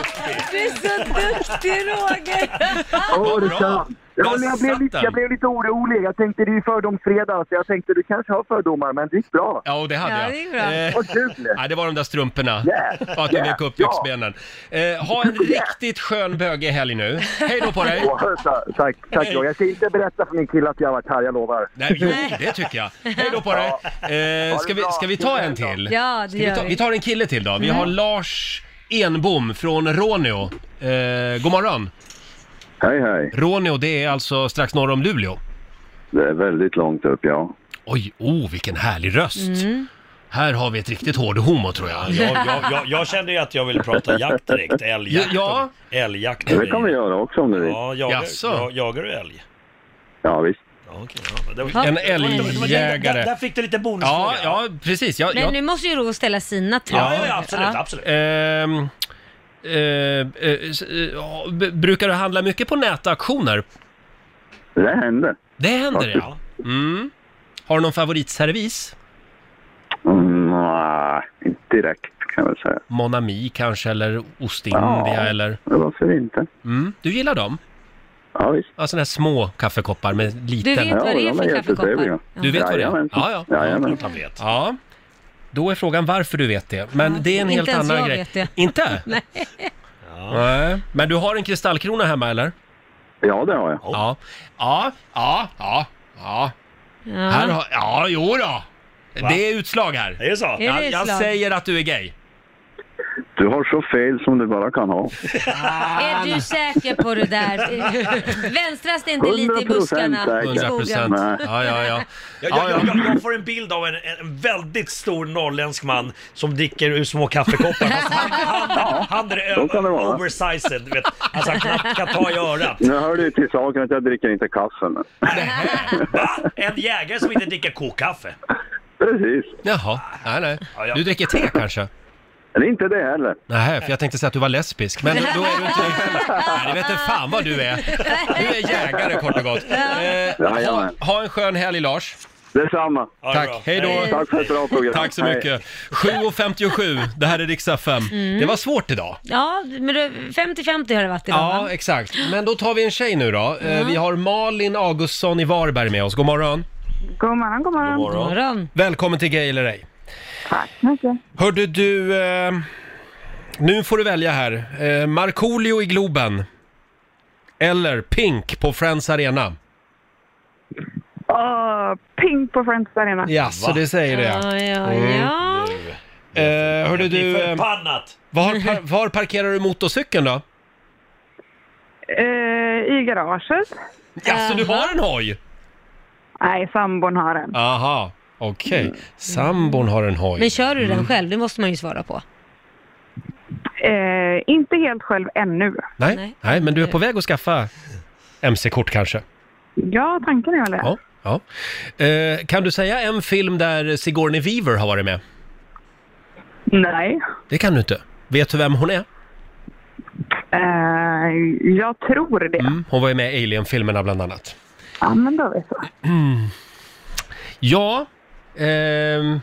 Speaker 2: du är så duktig Roger!
Speaker 10: Ja, det
Speaker 1: bra.
Speaker 10: är sant. Ja, men jag,
Speaker 1: Där
Speaker 10: blev
Speaker 1: satt
Speaker 10: lite,
Speaker 1: den.
Speaker 10: jag blev lite orolig. Jag tänkte det är ju fördomsfredag, så jag tänkte du kanske har fördomar, men det gick bra.
Speaker 1: Ja, och det hade
Speaker 2: Ja,
Speaker 1: jag.
Speaker 2: det är bra.
Speaker 1: Eh,
Speaker 10: Vad kul!
Speaker 1: nej, det var de där strumporna.
Speaker 10: Yeah,
Speaker 1: Och att du
Speaker 10: yeah,
Speaker 1: vek upp
Speaker 10: ja.
Speaker 1: byxbenen. Eh, ha en riktigt skön bögig helg nu. Hej då på dig!
Speaker 10: Åh, ta- Tack, tack Roger. Jag ska inte berätta för min kille att jag har varit här, jag lovar.
Speaker 1: Nej, jo, det tycker jag. Hej då på dig! Eh, ska, vi, ska vi ta en till?
Speaker 2: Ja, det
Speaker 1: Ska vi,
Speaker 2: gör
Speaker 1: ta, vi
Speaker 2: vi. Mm.
Speaker 1: tar en kille till då. Vi har Lars Enbom från Råneå. Eh, god morgon!
Speaker 11: Hej, hej.
Speaker 1: Råneå, det är alltså strax norr om Luleå.
Speaker 11: Det är väldigt långt upp, ja.
Speaker 1: Oj, oh, vilken härlig röst!
Speaker 2: Mm.
Speaker 1: Här har vi ett riktigt hård homo tror jag.
Speaker 8: Jag, jag, jag, jag kände ju att jag ville prata jakt direkt, älgjakt.
Speaker 1: Ja.
Speaker 8: och- Älgjakt. och
Speaker 11: Det kan vi
Speaker 8: grejer.
Speaker 11: göra också om du vill.
Speaker 8: Ja, jagar,
Speaker 1: Jaså?
Speaker 8: jag, jagar du älg?
Speaker 11: Ja, visst.
Speaker 8: Ja, okej, ja. Det var,
Speaker 2: Ja.
Speaker 1: En
Speaker 8: Det var- där, där,
Speaker 1: älgjägare.
Speaker 8: där fick du lite
Speaker 1: Ja,
Speaker 8: bonusfråga.
Speaker 1: ja, precis. Jag,
Speaker 2: Men
Speaker 1: jag,
Speaker 2: nu måste ju Roger ställa sina tre.
Speaker 8: ja, ja, absolut, absolut.
Speaker 1: ehm, eh, eh, s- eh, ja, b- brukar du handla mycket på nätauktioner?
Speaker 11: Det händer.
Speaker 1: Det händer ja. Mm. Har du någon favoritservis?
Speaker 11: Mm, nej, inte direkt kan jag väl säga.
Speaker 1: Monami kanske, eller Ostindia
Speaker 11: Ja.
Speaker 1: eller...
Speaker 11: Varför inte?
Speaker 1: Mm. Du gillar dem?
Speaker 11: Ja, visst.
Speaker 1: Ja, sådana här små kaffekoppar med
Speaker 2: Du
Speaker 1: liten...
Speaker 2: vet
Speaker 11: Ja,
Speaker 2: vad det är
Speaker 11: de är
Speaker 2: för kaffekoppar?
Speaker 11: jättetrevliga.
Speaker 1: Du vet vad det är?
Speaker 11: Jajamän.
Speaker 1: Ja, ja.
Speaker 11: Jajamän.
Speaker 8: Han vet.
Speaker 1: Ja. Då är frågan varför du vet det. Men
Speaker 2: Ja,
Speaker 1: det är en
Speaker 2: inte
Speaker 1: helt
Speaker 2: ens
Speaker 1: annan
Speaker 2: jag
Speaker 1: grej.
Speaker 2: vet det.
Speaker 1: Inte? Nej. Nej. Men du har en kristallkrona hemma eller?
Speaker 11: Ja, det har jag.
Speaker 1: Ja. Ja, ja, ja, ja. Här
Speaker 2: Ja.
Speaker 1: har... Ja, jo då. Det är utslag här.
Speaker 8: Det är så?
Speaker 2: Är det
Speaker 1: Jag, jag
Speaker 2: utslag?
Speaker 1: säger att du är gay.
Speaker 11: Du har så fel som du bara kan ha.
Speaker 1: Ah.
Speaker 2: Är du säker på det där? Vänstras det inte lite i
Speaker 11: 100%
Speaker 2: buskarna?
Speaker 11: säker.
Speaker 2: i
Speaker 1: 100
Speaker 2: skogen?
Speaker 1: procent. Ja, ja, ja.
Speaker 8: Jag, jag, jag, jag, jag får en bild av en, en väldigt stor norrländsk man som dricker ur små kaffekoppar. Alltså, han, han, han är
Speaker 11: Så kan det
Speaker 8: ö-
Speaker 11: vara.
Speaker 8: oversized, du vet. Alltså han knappt kan ta i örat.
Speaker 11: Nu hör det ju till saken att jag dricker inte kaffe. Men...
Speaker 8: Va? En jägare som inte dricker kokkaffe.
Speaker 11: Precis.
Speaker 1: Jaha, nej, nej.
Speaker 8: ja.
Speaker 1: Du dricker te kanske?
Speaker 11: Det är inte det heller.
Speaker 1: Nej, för jag tänkte säga att du var lesbisk, men då är du inte... Nej, det vet inte fan vad du är. Du är jägare kort och gott. Eh, ha,
Speaker 11: Jajamän.
Speaker 1: ha en skön helg Lars.
Speaker 11: Detsamma.
Speaker 8: Ja, det är
Speaker 1: Tack,
Speaker 8: bra.
Speaker 1: hej då.
Speaker 11: Tack för ett bra program.
Speaker 1: Tack så
Speaker 11: Hej.
Speaker 1: mycket. 7.57, det här är Rix FM.
Speaker 11: Mm.
Speaker 1: Det var svårt idag.
Speaker 2: Ja, men det- 50-50 har det varit idag
Speaker 1: Ja,
Speaker 2: va?
Speaker 1: exakt. Men då tar vi en tjej nu då. Eh, Vi har Malin Augustsson i Varberg med oss. God morgon.
Speaker 12: God morgon, god morgon.
Speaker 2: God morgon.
Speaker 1: Välkommen till Gay eller ej.
Speaker 12: Tack så mycket.
Speaker 1: Hörde du, eh, nu får du välja här. Eh, Markoolio i Globen. Eller Pink på Friends Arena.
Speaker 12: Åh, ping på Friends Arena.
Speaker 1: Ja, så det säger det. Mm. ja.
Speaker 2: Ja, ja, ja.
Speaker 1: Eh, hörde
Speaker 8: Det
Speaker 1: du,
Speaker 8: är
Speaker 1: eh,
Speaker 8: förbannat!
Speaker 1: var, par, var parkerar du motorcykeln då?
Speaker 12: Eh, I garaget.
Speaker 1: Ja, så du har en hoj?
Speaker 12: Nej, sambon har en.
Speaker 1: Aha, okej.
Speaker 12: Mm.
Speaker 1: Sambon har en hoj. Mm.
Speaker 2: Men kör du den själv? Det måste man ju svara på.
Speaker 12: Eh, inte helt själv ännu.
Speaker 1: Nej,
Speaker 2: Nej.
Speaker 1: nej, men du är på väg att skaffa MC-kort kanske?
Speaker 12: Ja, tanken är väl det.
Speaker 1: Ja. ja. Eh, kan du säga en film där Sigourney Weaver har varit med?
Speaker 12: Nej.
Speaker 1: Det kan du inte. Vet du vem hon är?
Speaker 12: Eh, jag tror det.
Speaker 1: Mm, Hon var ju med i Alien-filmerna bland annat.
Speaker 12: Ja, men då vet jag.
Speaker 1: Mm. Ja, ehm,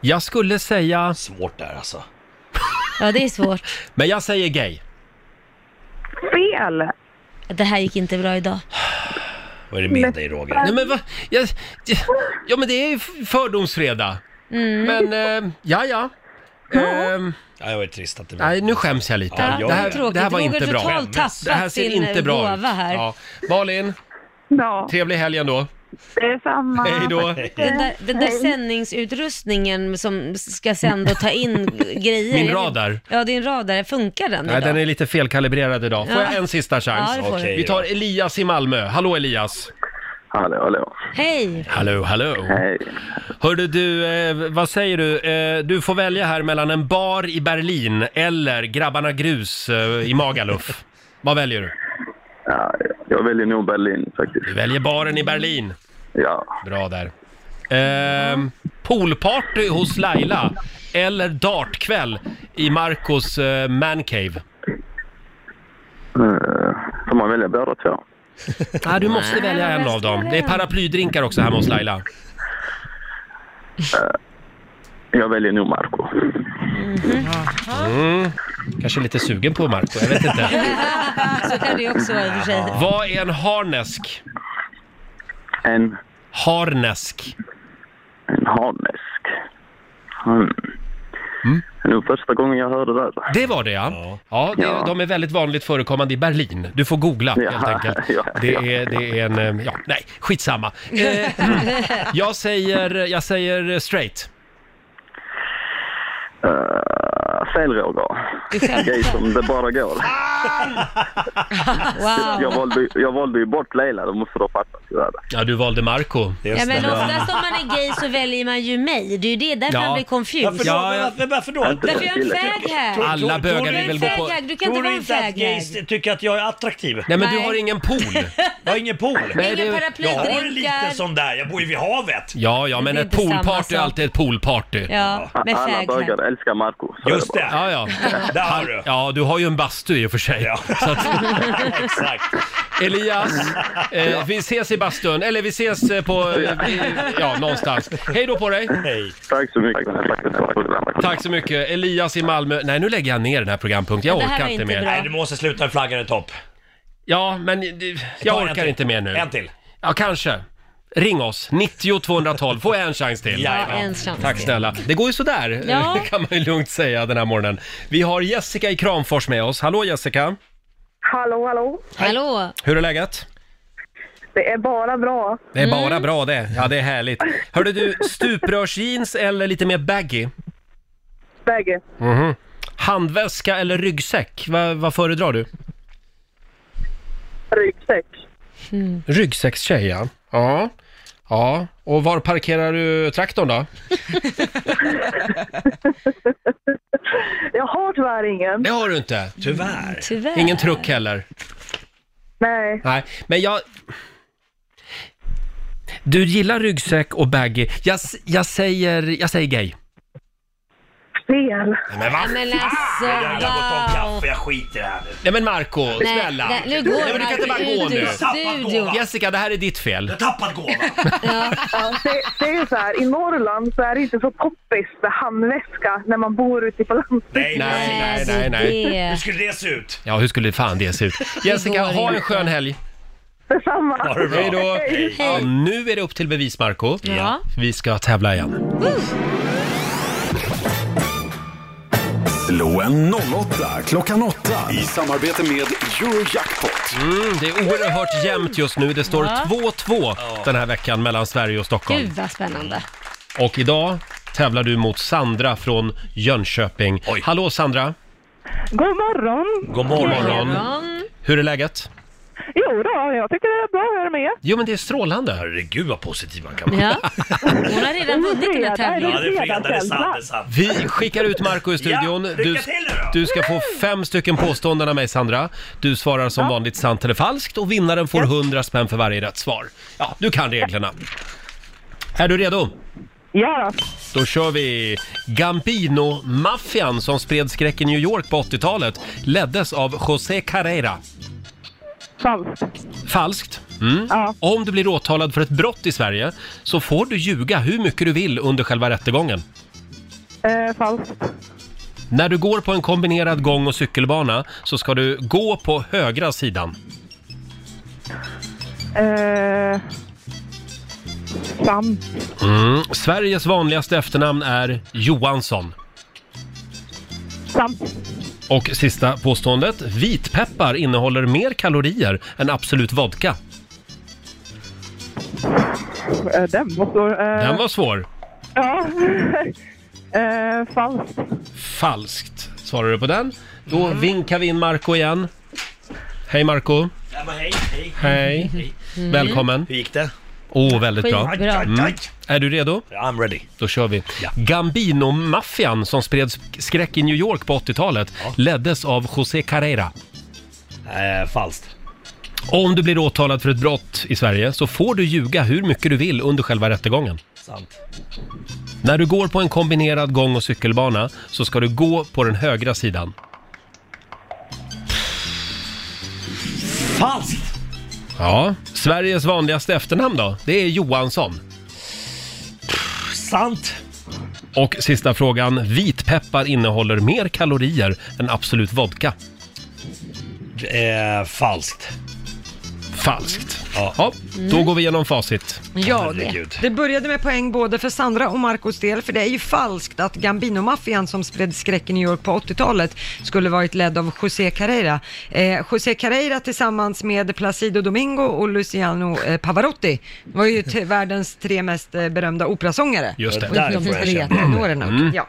Speaker 1: jag skulle säga...
Speaker 8: Svårt där alltså.
Speaker 2: Ja, det är svårt.
Speaker 1: Men jag säger gay.
Speaker 12: Fel!
Speaker 2: Det här gick inte bra idag.
Speaker 8: Vad är det med dig Roger?
Speaker 1: Nej men va? Jag, det- ja men det är ju fördomsfredag.
Speaker 2: Mm.
Speaker 1: Men, eh, ja ja. Ehm,
Speaker 8: Ja, jag är trist att det var...
Speaker 1: nej, nu skäms jag lite.
Speaker 8: Ja,
Speaker 1: det, här,
Speaker 2: Tråkigt.
Speaker 1: det här var inte
Speaker 2: Roger
Speaker 1: bra.
Speaker 2: totalt tappat
Speaker 1: Det här ser
Speaker 2: sin
Speaker 1: inte bra ut.
Speaker 2: gåva här.
Speaker 1: Ja. Malin,
Speaker 12: Ja,
Speaker 1: trevlig helg ändå.
Speaker 12: det är samma.
Speaker 1: Hej då.
Speaker 2: Den där, den där sändningsutrustningen som ska sända och ta in grejer.
Speaker 1: Min radar.
Speaker 2: Ja, din radar. Funkar den
Speaker 1: Nej,
Speaker 2: idag?
Speaker 1: den är lite felkalibrerad idag. Får
Speaker 2: Ja.
Speaker 1: jag en sista chans?
Speaker 2: Ja, det får
Speaker 8: Okej.
Speaker 2: du.
Speaker 1: Vi tar Elias i Malmö. Hallå Elias!
Speaker 11: Hallå, hallå.
Speaker 2: Hej!
Speaker 1: Hallå, hallå!
Speaker 11: Hej.
Speaker 1: Hörde du, eh, vad säger du? Eh, du får välja här mellan en bar i Berlin eller Grabbarna Grus eh, i Magaluf. vad väljer du?
Speaker 11: Ja, jag väljer nog Berlin faktiskt.
Speaker 1: Du väljer baren i Berlin.
Speaker 11: Ja.
Speaker 1: Bra där. Ehm, poolparty hos Laila eller dartkväll i Marcos eh, mancave?
Speaker 11: eh, Får man välja båda två?
Speaker 1: Ah, du måste välja en av dem. Det är paraplydrinkar också hemma hos Laila.
Speaker 11: Eh, Jag väljer nog Marco.
Speaker 1: Mm. Kanske lite sugen på Marco, jag vet inte.
Speaker 2: Så kan det ju också vara i och för sig.
Speaker 1: Vad är en harnesk?
Speaker 11: En,
Speaker 1: Harnesk.
Speaker 11: en harnesk. Mm. Det är nog första gången jag hörde det. där.
Speaker 1: Det var det ja. Ja, det,
Speaker 11: Ja.
Speaker 1: de är väldigt vanligt förekommande i Berlin. Du får googla
Speaker 11: Ja,
Speaker 1: helt enkelt.
Speaker 11: ja,
Speaker 1: Det
Speaker 11: ja.
Speaker 1: är, det är en, eh, ja, nej, skitsamma. Eh, jag säger, jag säger straight.
Speaker 11: Eh, Fel Roger.
Speaker 2: Du skämtar.
Speaker 11: Gay som det bara går. Jag
Speaker 2: Wow.
Speaker 11: valde, jag valde ju bort Leila, det måste du ha fattat tyvärr.
Speaker 1: Ja, du valde Marco.
Speaker 2: Ja, men oftast om man är gay så väljer man ju mig. Det är ju det, därför
Speaker 1: Ja.
Speaker 2: man blir
Speaker 8: Varför
Speaker 2: confused.
Speaker 8: då?
Speaker 1: Ja,
Speaker 8: Varför, varför då?
Speaker 11: Inte
Speaker 2: Därför jag är en fag här.
Speaker 1: Alla
Speaker 8: tror- tror du
Speaker 1: bögar vill
Speaker 2: Jag är
Speaker 1: väl
Speaker 2: en
Speaker 1: gå på...
Speaker 2: fag du kan
Speaker 8: Tror
Speaker 2: inte
Speaker 8: du
Speaker 2: vara en
Speaker 8: inte att
Speaker 2: fag
Speaker 8: gays tycker att jag är attraktiv?
Speaker 1: Nej, men du
Speaker 2: Nej.
Speaker 1: har ingen pool.
Speaker 8: Jag har ingen pool.
Speaker 1: Nej,
Speaker 2: Ingen
Speaker 1: det-
Speaker 8: Jag har
Speaker 2: paraplydrinkar.
Speaker 8: lite sån där, jag bor ju vid havet.
Speaker 1: Ja, ja, men
Speaker 2: Det är
Speaker 1: ett
Speaker 2: inte samma
Speaker 1: poolparty är
Speaker 2: sak.
Speaker 1: alltid ett poolparty.
Speaker 2: Ja, med
Speaker 11: Alla
Speaker 2: fag
Speaker 11: bögar
Speaker 2: här.
Speaker 11: älskar Marco. så är
Speaker 8: Just
Speaker 11: bara.
Speaker 8: det,
Speaker 1: Ja, ja.
Speaker 8: där har du.
Speaker 1: Ja, du har ju en bastu i och för sig.
Speaker 8: Ja.
Speaker 1: Så att,
Speaker 8: Exakt.
Speaker 1: Elias, eh, vi ses i bastun, eller vi ses eh, på, eh, i- ja, någonstans. Hej då på dig!
Speaker 8: Hej.
Speaker 11: Tack så mycket. Tack,
Speaker 1: Tack så mycket. Elias i Malmö. Nej, nu lägger jag ner den här programpunkten. Jag
Speaker 2: Det här
Speaker 1: orkar
Speaker 2: var
Speaker 1: inte
Speaker 2: inte
Speaker 1: mer.
Speaker 2: bra.
Speaker 8: Nej, du måste sluta med flaggan i topp.
Speaker 1: Ja, men det- jag
Speaker 8: Ta en
Speaker 1: orkar
Speaker 8: till.
Speaker 1: inte mer nu.
Speaker 8: En till.
Speaker 1: Ja, kanske. Ring oss, 90 212. Får jag en chans till?
Speaker 2: Ja,
Speaker 8: Jajamän.
Speaker 2: en chans.
Speaker 1: Tack snälla. Det går ju sådär,
Speaker 2: Ja.
Speaker 1: kan man ju lugnt säga den här morgonen. Vi har Jessica i Kramfors med oss. Hallå Jessica!
Speaker 12: Hallå, hallå.
Speaker 2: Hallå!
Speaker 1: Hur är läget?
Speaker 12: Det är bara bra.
Speaker 1: Det är
Speaker 2: Mm.
Speaker 1: bara
Speaker 12: Mm.
Speaker 1: bra det. Ja, det är härligt. Hörde du, stuprörsjeans eller lite mer baggy?
Speaker 12: Bägge.
Speaker 1: Mhm. Handväska eller ryggsäck? Va, vad föredrar du?
Speaker 12: Ryggsäck.
Speaker 1: Ryggsäckstjej, ja. ja. Ja, och var parkerar du traktorn då?
Speaker 12: Jag har tyvärr ingen.
Speaker 1: Det har du inte. Tyvärr.
Speaker 12: Tyvärr.
Speaker 1: Ingen truck heller.
Speaker 12: Nej.
Speaker 1: Nej, men jag... Du gillar ryggsäck och baggy. Jag, s- jag, säger, jag säger gay.
Speaker 12: Fel.
Speaker 1: Men va?
Speaker 2: Men alltså, wow.
Speaker 8: jag skiter i det här nu.
Speaker 1: Nej men Marco,
Speaker 2: Nej,
Speaker 1: snälla.
Speaker 2: nej, nu går
Speaker 1: men du kan inte bara
Speaker 2: Marco
Speaker 1: gå
Speaker 2: ut
Speaker 1: nu.
Speaker 2: ur studion.
Speaker 1: Jessica, det här är ditt fel.
Speaker 8: Tappad gåva.
Speaker 12: Ja, det, det är så här, i Norrland så är det inte så poppis med handväska när man bor ute på landet.
Speaker 8: Nej,
Speaker 1: Nej, nej, nej, nej.
Speaker 8: Hur skulle det se ut?
Speaker 1: Ja, hur skulle fan det se ut? Jessica,
Speaker 12: går
Speaker 1: ha en
Speaker 12: inte.
Speaker 1: skön helg.
Speaker 12: Detsamma.
Speaker 1: Ha det bra. Hej då. Ja, nu är det upp till bevis, Marco.
Speaker 2: Ja.
Speaker 1: Vi ska tävla igen.
Speaker 6: Loen 08, klockan 8 i samarbete med Eurojackpot.
Speaker 1: Mm, det är oerhört jämnt just nu. Det står
Speaker 2: Ja.
Speaker 1: 2-2 den här veckan mellan Sverige och Stockholm.
Speaker 2: Gud vad spännande.
Speaker 1: Och idag tävlar du mot Sandra från Jönköping. Hallå Sandra!
Speaker 12: God morgon.
Speaker 1: God Hur är läget?
Speaker 12: Jo då, jag tycker det är bra. Hur är det med?
Speaker 1: Jo men det är strålande.
Speaker 8: Herregud vad positiv man kan vara.
Speaker 2: Ja. Hon har redan vunnit den
Speaker 8: Ja,
Speaker 2: här
Speaker 8: det
Speaker 2: tävlingen.
Speaker 8: är fredag, det är sant, det är sant.
Speaker 1: Vi skickar ut Marco i studion.
Speaker 8: Ja, lycka
Speaker 1: du,
Speaker 8: till nu då!
Speaker 1: du ska få fem stycken påståenden av mig Sandra. Du svarar som vanligt sant eller falskt och vinnaren får 100 spänn för varje rätt svar. Ja, du kan reglerna. Är du redo?
Speaker 12: Ja då.
Speaker 1: Då kör vi! Gambino-maffian som spred skräck i New York på 80-talet leddes av José Carrera.
Speaker 12: Falskt.
Speaker 1: Falskt. Mm.
Speaker 12: Ja.
Speaker 1: Om du blir åtalad för ett brott i Sverige så får du ljuga hur mycket du vill under själva rättegången.
Speaker 12: Eh, falskt.
Speaker 1: När du går på en kombinerad gång och cykelbana så ska du gå på högra sidan.
Speaker 12: Eh, sant.
Speaker 1: Mm. Sveriges vanligaste efternamn är Johansson.
Speaker 12: Sant.
Speaker 1: Och sista påståendet. Vitpeppar innehåller mer kalorier än Absolut Vodka.
Speaker 12: Eh, den måste... Eh,
Speaker 1: Den var svår.
Speaker 12: Ja. eh, falskt.
Speaker 1: Falskt. Svarar du på den? Då vinkar vi in Marco igen. Hej Marco.
Speaker 8: Ja, men hej, hej.
Speaker 1: Hej. Välkommen.
Speaker 8: Hur gick det?
Speaker 1: Åh, väldigt bra. Mm.
Speaker 8: Aj, aj, aj.
Speaker 1: Är du redo?
Speaker 8: I'm ready.
Speaker 1: Då kör vi.
Speaker 8: Ja.
Speaker 1: Gambino-maffian som spred sk- skräck i New York på 80-talet leddes av José Carrera.
Speaker 8: Eh, falskt.
Speaker 1: Om du blir åtalad för ett brott i Sverige så får du ljuga hur mycket du vill under själva rättegången.
Speaker 8: Sant.
Speaker 1: När du går på en kombinerad gång och cykelbana så ska du gå på den högra sidan.
Speaker 8: Falskt!
Speaker 1: Ja. Sveriges vanligaste efternamn då? Det är Johansson.
Speaker 8: Sant.
Speaker 1: Och sista frågan. Vitpeppar innehåller mer kalorier än Absolut Vodka.
Speaker 8: Eh, falskt.
Speaker 1: Falskt.
Speaker 8: Ja.
Speaker 1: Ja, då går vi igenom facit.
Speaker 5: Ja, det,
Speaker 8: Herregud.
Speaker 5: det började med poäng både för Sandra och Marcos del, för det är ju falskt att Gambino-maffian som spred skräck i New York på 80-talet skulle varit ledd av José Carreira. Eh, José Carreira tillsammans med Placido Domingo och Luciano eh, Pavarotti var ju t- världens tre mest eh, berömda operasångare.
Speaker 1: Just det.
Speaker 8: Och där
Speaker 5: De
Speaker 8: får jag
Speaker 5: tre
Speaker 8: känna. Mm.
Speaker 5: tentorerna. Ja.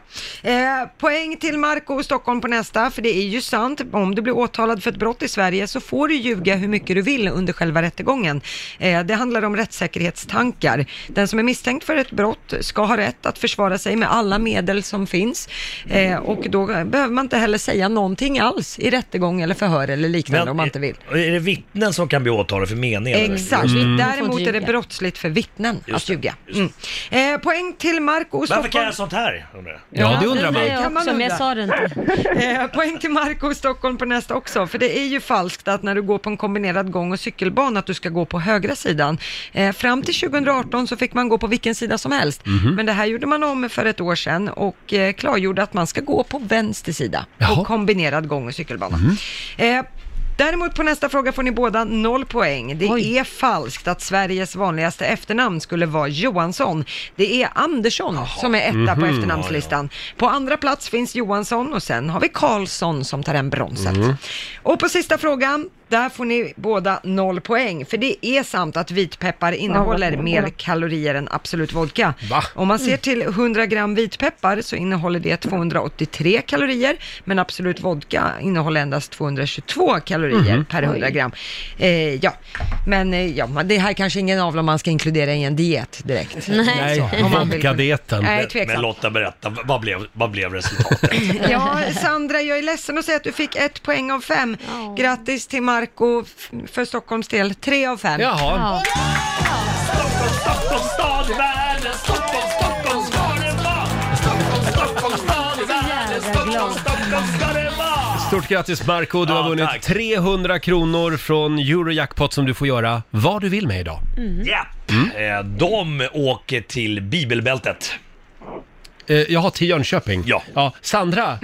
Speaker 5: Eh, poäng till Marco och Stockholm på nästa, för det är ju sant. Om du blir åtalad för ett brott i Sverige så får du ljuga hur mycket du vill under själva rättegången. Eh, det handlar om rättssäkerhetstankar. Den som är misstänkt för ett brott ska ha rätt att försvara sig med alla medel som finns. Eh, och då behöver man inte heller säga någonting alls i rättegång eller förhör eller liknande om man inte vill.
Speaker 8: Är det vittnen som kan bli åtalade för meningen? Mm. eller?
Speaker 5: Exakt, Mm.
Speaker 2: Får
Speaker 5: däremot
Speaker 2: inte
Speaker 5: är det
Speaker 2: ljuga.
Speaker 5: brottsligt för vittnen att ljuga. Mm. Eh, poäng till Marco och
Speaker 8: Varför kan
Speaker 5: Stockholm.
Speaker 8: jag sånt här? undrar jag?
Speaker 1: Ja, det undrar
Speaker 2: säger
Speaker 1: man.
Speaker 5: Det
Speaker 2: jag
Speaker 5: kan man
Speaker 2: också, men jag
Speaker 5: undra.
Speaker 2: sa det inte.
Speaker 5: Eh, poäng till Marco och Stockholm på nästa också, för det är ju falskt att när du går på en kombinerad gång och cykelbana att du ska gå på högra sidan. Eh, fram till 2018 så fick man gå på vilken sida som helst,
Speaker 1: Mhm.
Speaker 5: men det här gjorde man om för ett år sedan och eh, klargjorde att man ska gå på vänster sida
Speaker 1: Jaha.
Speaker 5: på kombinerad gång och cykelbana.
Speaker 1: Mm.
Speaker 5: Eh, Däremot på nästa fråga får ni båda noll poäng. Det är falskt att Sveriges vanligaste efternamn skulle vara Johansson. Det är Andersson som är etta på efternamnslistan. På andra
Speaker 10: Mm.
Speaker 5: plats finns Johansson och sen har vi Karlsson som tar hem bronset. Och på sista frågan, Där får ni båda noll poäng, för det är sant att vitpeppar innehåller
Speaker 12: Ja, vad-
Speaker 5: mer kalorier än Absolut Vodka.
Speaker 12: Va?
Speaker 5: Om man ser till 100 gram vitpeppar så innehåller det 283 kalorier, men Absolut Vodka innehåller endast 222 kalorier
Speaker 12: Mhm.
Speaker 5: per 100
Speaker 12: Oj.
Speaker 5: gram. Eh, ja, men eh, ja, men det här kanske ingen av dem man ska inkludera i en diet direkt.
Speaker 8: Nej,
Speaker 5: om man vill-
Speaker 8: vodkadieten.
Speaker 5: Nej,
Speaker 8: men, men
Speaker 5: tveksamt.
Speaker 8: Lotta, berätta, vad blev, vad blev resultatet?
Speaker 5: Ja, Sandra, jag är ledsen att säga att du fick ett poäng av fem. Grattis till Marco f- för Stockholms del, tre av fem.
Speaker 4: Jaha. Stockholms stad i världen, Stockholm, Stockholm ska det vara. Stockholm, Stockholm stad i världen, Stockholm, Stockholm ska det vara.
Speaker 1: Stort grattis Marco, du har vunnit 300 kronor från Eurojackpot som du får göra vad du vill med idag.
Speaker 2: Mm.
Speaker 1: Mm.
Speaker 8: Ja. Eh, De åker till bibelbältet.
Speaker 1: Eh, Jaha, till Jönköping? Ja. Sandra,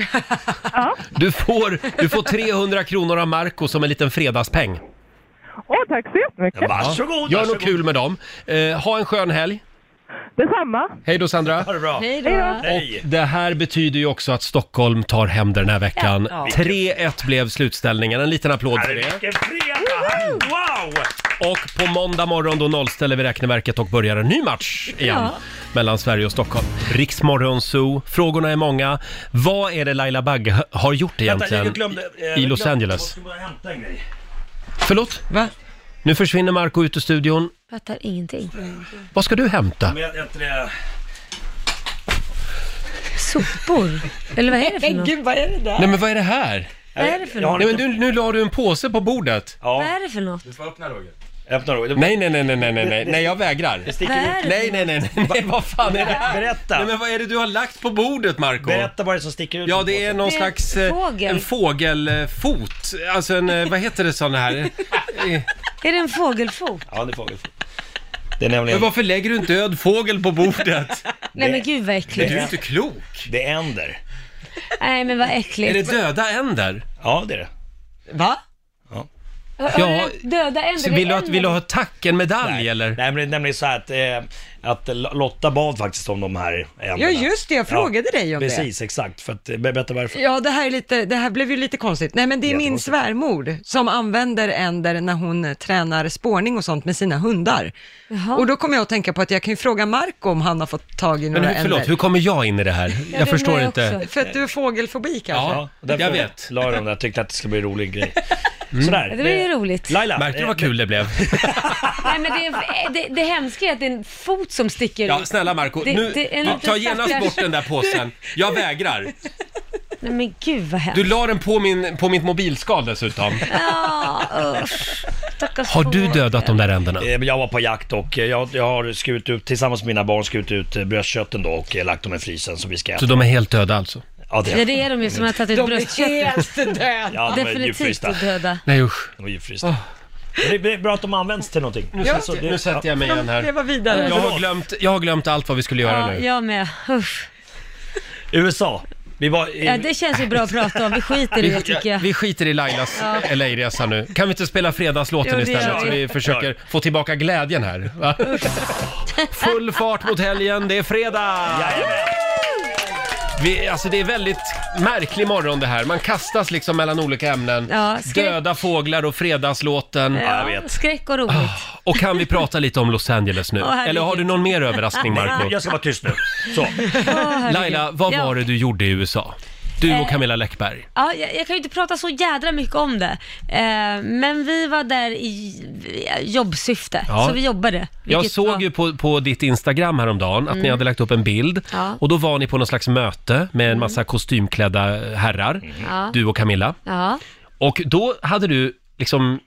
Speaker 1: du, får, du får 300 kronor av Marco som en liten fredagspeng.
Speaker 12: Åh, tack så jättemycket.
Speaker 1: Ja, Gör något kul med dem. Eh, ha en skön helg.
Speaker 12: Detsamma.
Speaker 1: Hej då Sandra.
Speaker 8: Ha det bra.
Speaker 12: Hej då.
Speaker 1: Och det här betyder ju också att Stockholm tar hem den här veckan.
Speaker 8: Ja.
Speaker 1: 3-1 blev slutställningen. En liten applåd för det.
Speaker 8: Vilken fredag! Wow!
Speaker 1: Och på måndag morgon då nollställer vi räkneverket och börjar en ny match igen.
Speaker 8: Ja.
Speaker 1: Mellan Sverige och Stockholm. Riksmorgon Zoo. Frågorna är många. Vad är det Laila Bagge h- har gjort egentligen
Speaker 8: jag glömde, eh, jag
Speaker 1: i
Speaker 8: glömde-
Speaker 1: Los Angeles?
Speaker 8: Jag måste bara hämta en grej.
Speaker 1: Förlåt?
Speaker 5: Va?
Speaker 1: Nu försvinner Marco ut ur studion.
Speaker 2: Fattar ingenting.
Speaker 1: Vad ska du hämta?
Speaker 8: Men jag- jag tror jag-
Speaker 2: Sopor? Eller vad är det för något?
Speaker 5: Gud, vad är det där?
Speaker 1: Nej men vad är det här?
Speaker 2: Vad är det för
Speaker 1: Nej, men
Speaker 2: något?
Speaker 1: du, nu la du en påse på bordet.
Speaker 2: Vad är det för något?
Speaker 7: Du får öppna Roger.
Speaker 8: Öppna Roger.
Speaker 1: Nej, nej, nej, nej, nej, nej, nej, nej, jag vägrar.
Speaker 8: Det
Speaker 2: sticker Vad är ut. det?
Speaker 1: Nej, nej, nej, nej, nej, vad fan är det här?
Speaker 8: Berätta.
Speaker 1: Nej, men vad är det du har lagt på bordet, Marco?
Speaker 8: Berätta vad det är som sticker ut.
Speaker 1: Ja, det är någon
Speaker 2: Det är
Speaker 1: slags... eh,
Speaker 2: fågel.
Speaker 1: En fågelfot. Alltså en, eh, vad heter det sån här? Eh,
Speaker 2: Är det en fågelfot?
Speaker 8: Ja, det får vi. Det är nämligen...
Speaker 1: Men varför lägger du en död fågel på bordet?
Speaker 2: Nej men gud vad
Speaker 1: Men
Speaker 2: äckligt.
Speaker 1: du är inte klok.
Speaker 8: Det är änder.
Speaker 2: Nej men vad
Speaker 1: Är det
Speaker 2: äckligt.
Speaker 1: döda änder?
Speaker 8: Ja, det är det.
Speaker 5: Va?
Speaker 2: Har- har
Speaker 1: Ja,
Speaker 2: du Döda änder.
Speaker 1: Så
Speaker 2: det är
Speaker 1: vill du, att,
Speaker 2: änder.
Speaker 1: vill du ha tack, en medalj
Speaker 8: Nej.
Speaker 1: eller?
Speaker 8: Nej, men det är nämligen så här att, eh, att L- Lotta bad faktiskt om de här ändarna.
Speaker 5: Ja, just det, jag frågade dig om det.
Speaker 8: precis, Precis, exakt. För att, eh, berätta varför.
Speaker 5: Ja, det här, är lite, det här blev ju lite konstigt. Nej, men det är min
Speaker 8: Jättekonstigt.
Speaker 5: svärmor som använder änder när hon eh, tränar spårning och sånt med sina hundar. Och då kommer jag att tänka på att jag kan ju fråga Marco om han har fått tag i några
Speaker 1: Men hur, förlåt,
Speaker 5: änder.
Speaker 1: hur kommer jag in i det här?
Speaker 5: det
Speaker 1: Jag förstår
Speaker 5: undrar
Speaker 1: inte.
Speaker 5: också. För att du är fågelfobi kanske?
Speaker 1: Ja,
Speaker 8: Och därför
Speaker 1: jag vet. Mm.
Speaker 8: la jag dem där, tyckte att det skulle bli en rolig grej. Sådär.
Speaker 2: Ja, Det var ju roligt.
Speaker 8: Laila.
Speaker 1: Märkte du
Speaker 8: eh,
Speaker 1: vad kul det blev?
Speaker 2: Nej men det, är- eh, det, det hemska är att det är en fot som sticker
Speaker 1: Ja,
Speaker 2: ut.
Speaker 1: snälla Marco,
Speaker 2: Det-
Speaker 1: nu,
Speaker 2: det är en
Speaker 1: ta-
Speaker 2: liten
Speaker 1: ta genast
Speaker 2: stackars-
Speaker 1: bort den där påsen. Jag vägrar.
Speaker 2: Nej men gud vad hemskt.
Speaker 1: Du la den på, min, på mitt mobilskal dessutom.
Speaker 2: Ja, usch. Stackars
Speaker 1: Har du
Speaker 2: fågel.
Speaker 1: dödat de där änderna?
Speaker 8: Eh, men Jag var på jakt och eh, jag, jag har skurit ut, tillsammans med mina barn, skurit ut eh, bröstkötten då och eh, lagt dem i frysen så vi ska
Speaker 1: Så de är helt döda alltså?
Speaker 8: Ja, det
Speaker 2: Ja det är de ju som har tagit ut
Speaker 5: De är
Speaker 2: bröstköttet.
Speaker 5: helt döda.
Speaker 8: Ja, de är
Speaker 2: Definitivt
Speaker 8: djupfrysta.
Speaker 2: att döda.
Speaker 1: Nej usch. Ah.
Speaker 8: De är djupfrysta. Men Det är bra att de används till någonting.
Speaker 1: Nu,
Speaker 8: Så
Speaker 1: sätter,
Speaker 8: det-
Speaker 1: nu sätter jag mig igen
Speaker 5: Det
Speaker 1: här.
Speaker 5: var vidare.
Speaker 1: Jag har, glömt, jag har glömt allt vad vi skulle göra
Speaker 2: Ja,
Speaker 1: nu.
Speaker 2: jag med. Usch.
Speaker 8: USA. Vi var i...
Speaker 2: Ja, det känns ju bra att prata om. Vi skiter i det
Speaker 1: Vi,
Speaker 2: tycker jag.
Speaker 1: vi skiter i Lailas
Speaker 2: Ja.
Speaker 1: ja. LA-resa nu. Kan vi inte spela
Speaker 2: Jo,
Speaker 1: fredagslåten
Speaker 2: det
Speaker 1: istället?
Speaker 2: gör
Speaker 1: Så
Speaker 2: vi.
Speaker 1: vi försöker få tillbaka glädjen här. Va? Full fart mot helgen, det är fredag!
Speaker 8: Jajamän.
Speaker 1: Vi, alltså det är väldigt märklig morgon det här. Man kastas liksom mellan olika ämnen.
Speaker 2: Ja, skräck.
Speaker 1: Döda fåglar och fredagslåten.
Speaker 8: jag
Speaker 2: Ja,
Speaker 8: vet.
Speaker 2: skräck och roligt.
Speaker 1: Och kan vi prata lite om Los Angeles nu?
Speaker 2: Åh, herregud.
Speaker 1: Eller har du någon mer överraskning
Speaker 8: Nej,
Speaker 1: Marco?
Speaker 8: Jag ska vara tyst nu. Så.
Speaker 2: Åh, herregud.
Speaker 1: Laila, vad
Speaker 2: ja.
Speaker 1: var det du gjorde i USA? Du
Speaker 2: Eh,
Speaker 1: och Camilla Läckberg.
Speaker 2: Ja, jag, jag kan ju inte prata så jädra mycket om det. Eh, men vi var där i i jobbsyfte,
Speaker 1: Ja.
Speaker 2: så vi jobbade.
Speaker 1: Jag
Speaker 2: vilket var-
Speaker 1: såg ju på, på ditt Instagram häromdagen att ni hade lagt upp en bild
Speaker 2: Ja. Mm.
Speaker 1: och då var ni på någon slags möte med en massa kostymklädda herrar,
Speaker 2: Ja.
Speaker 1: du och Camilla.
Speaker 2: Ja.
Speaker 1: Och då hade du liksom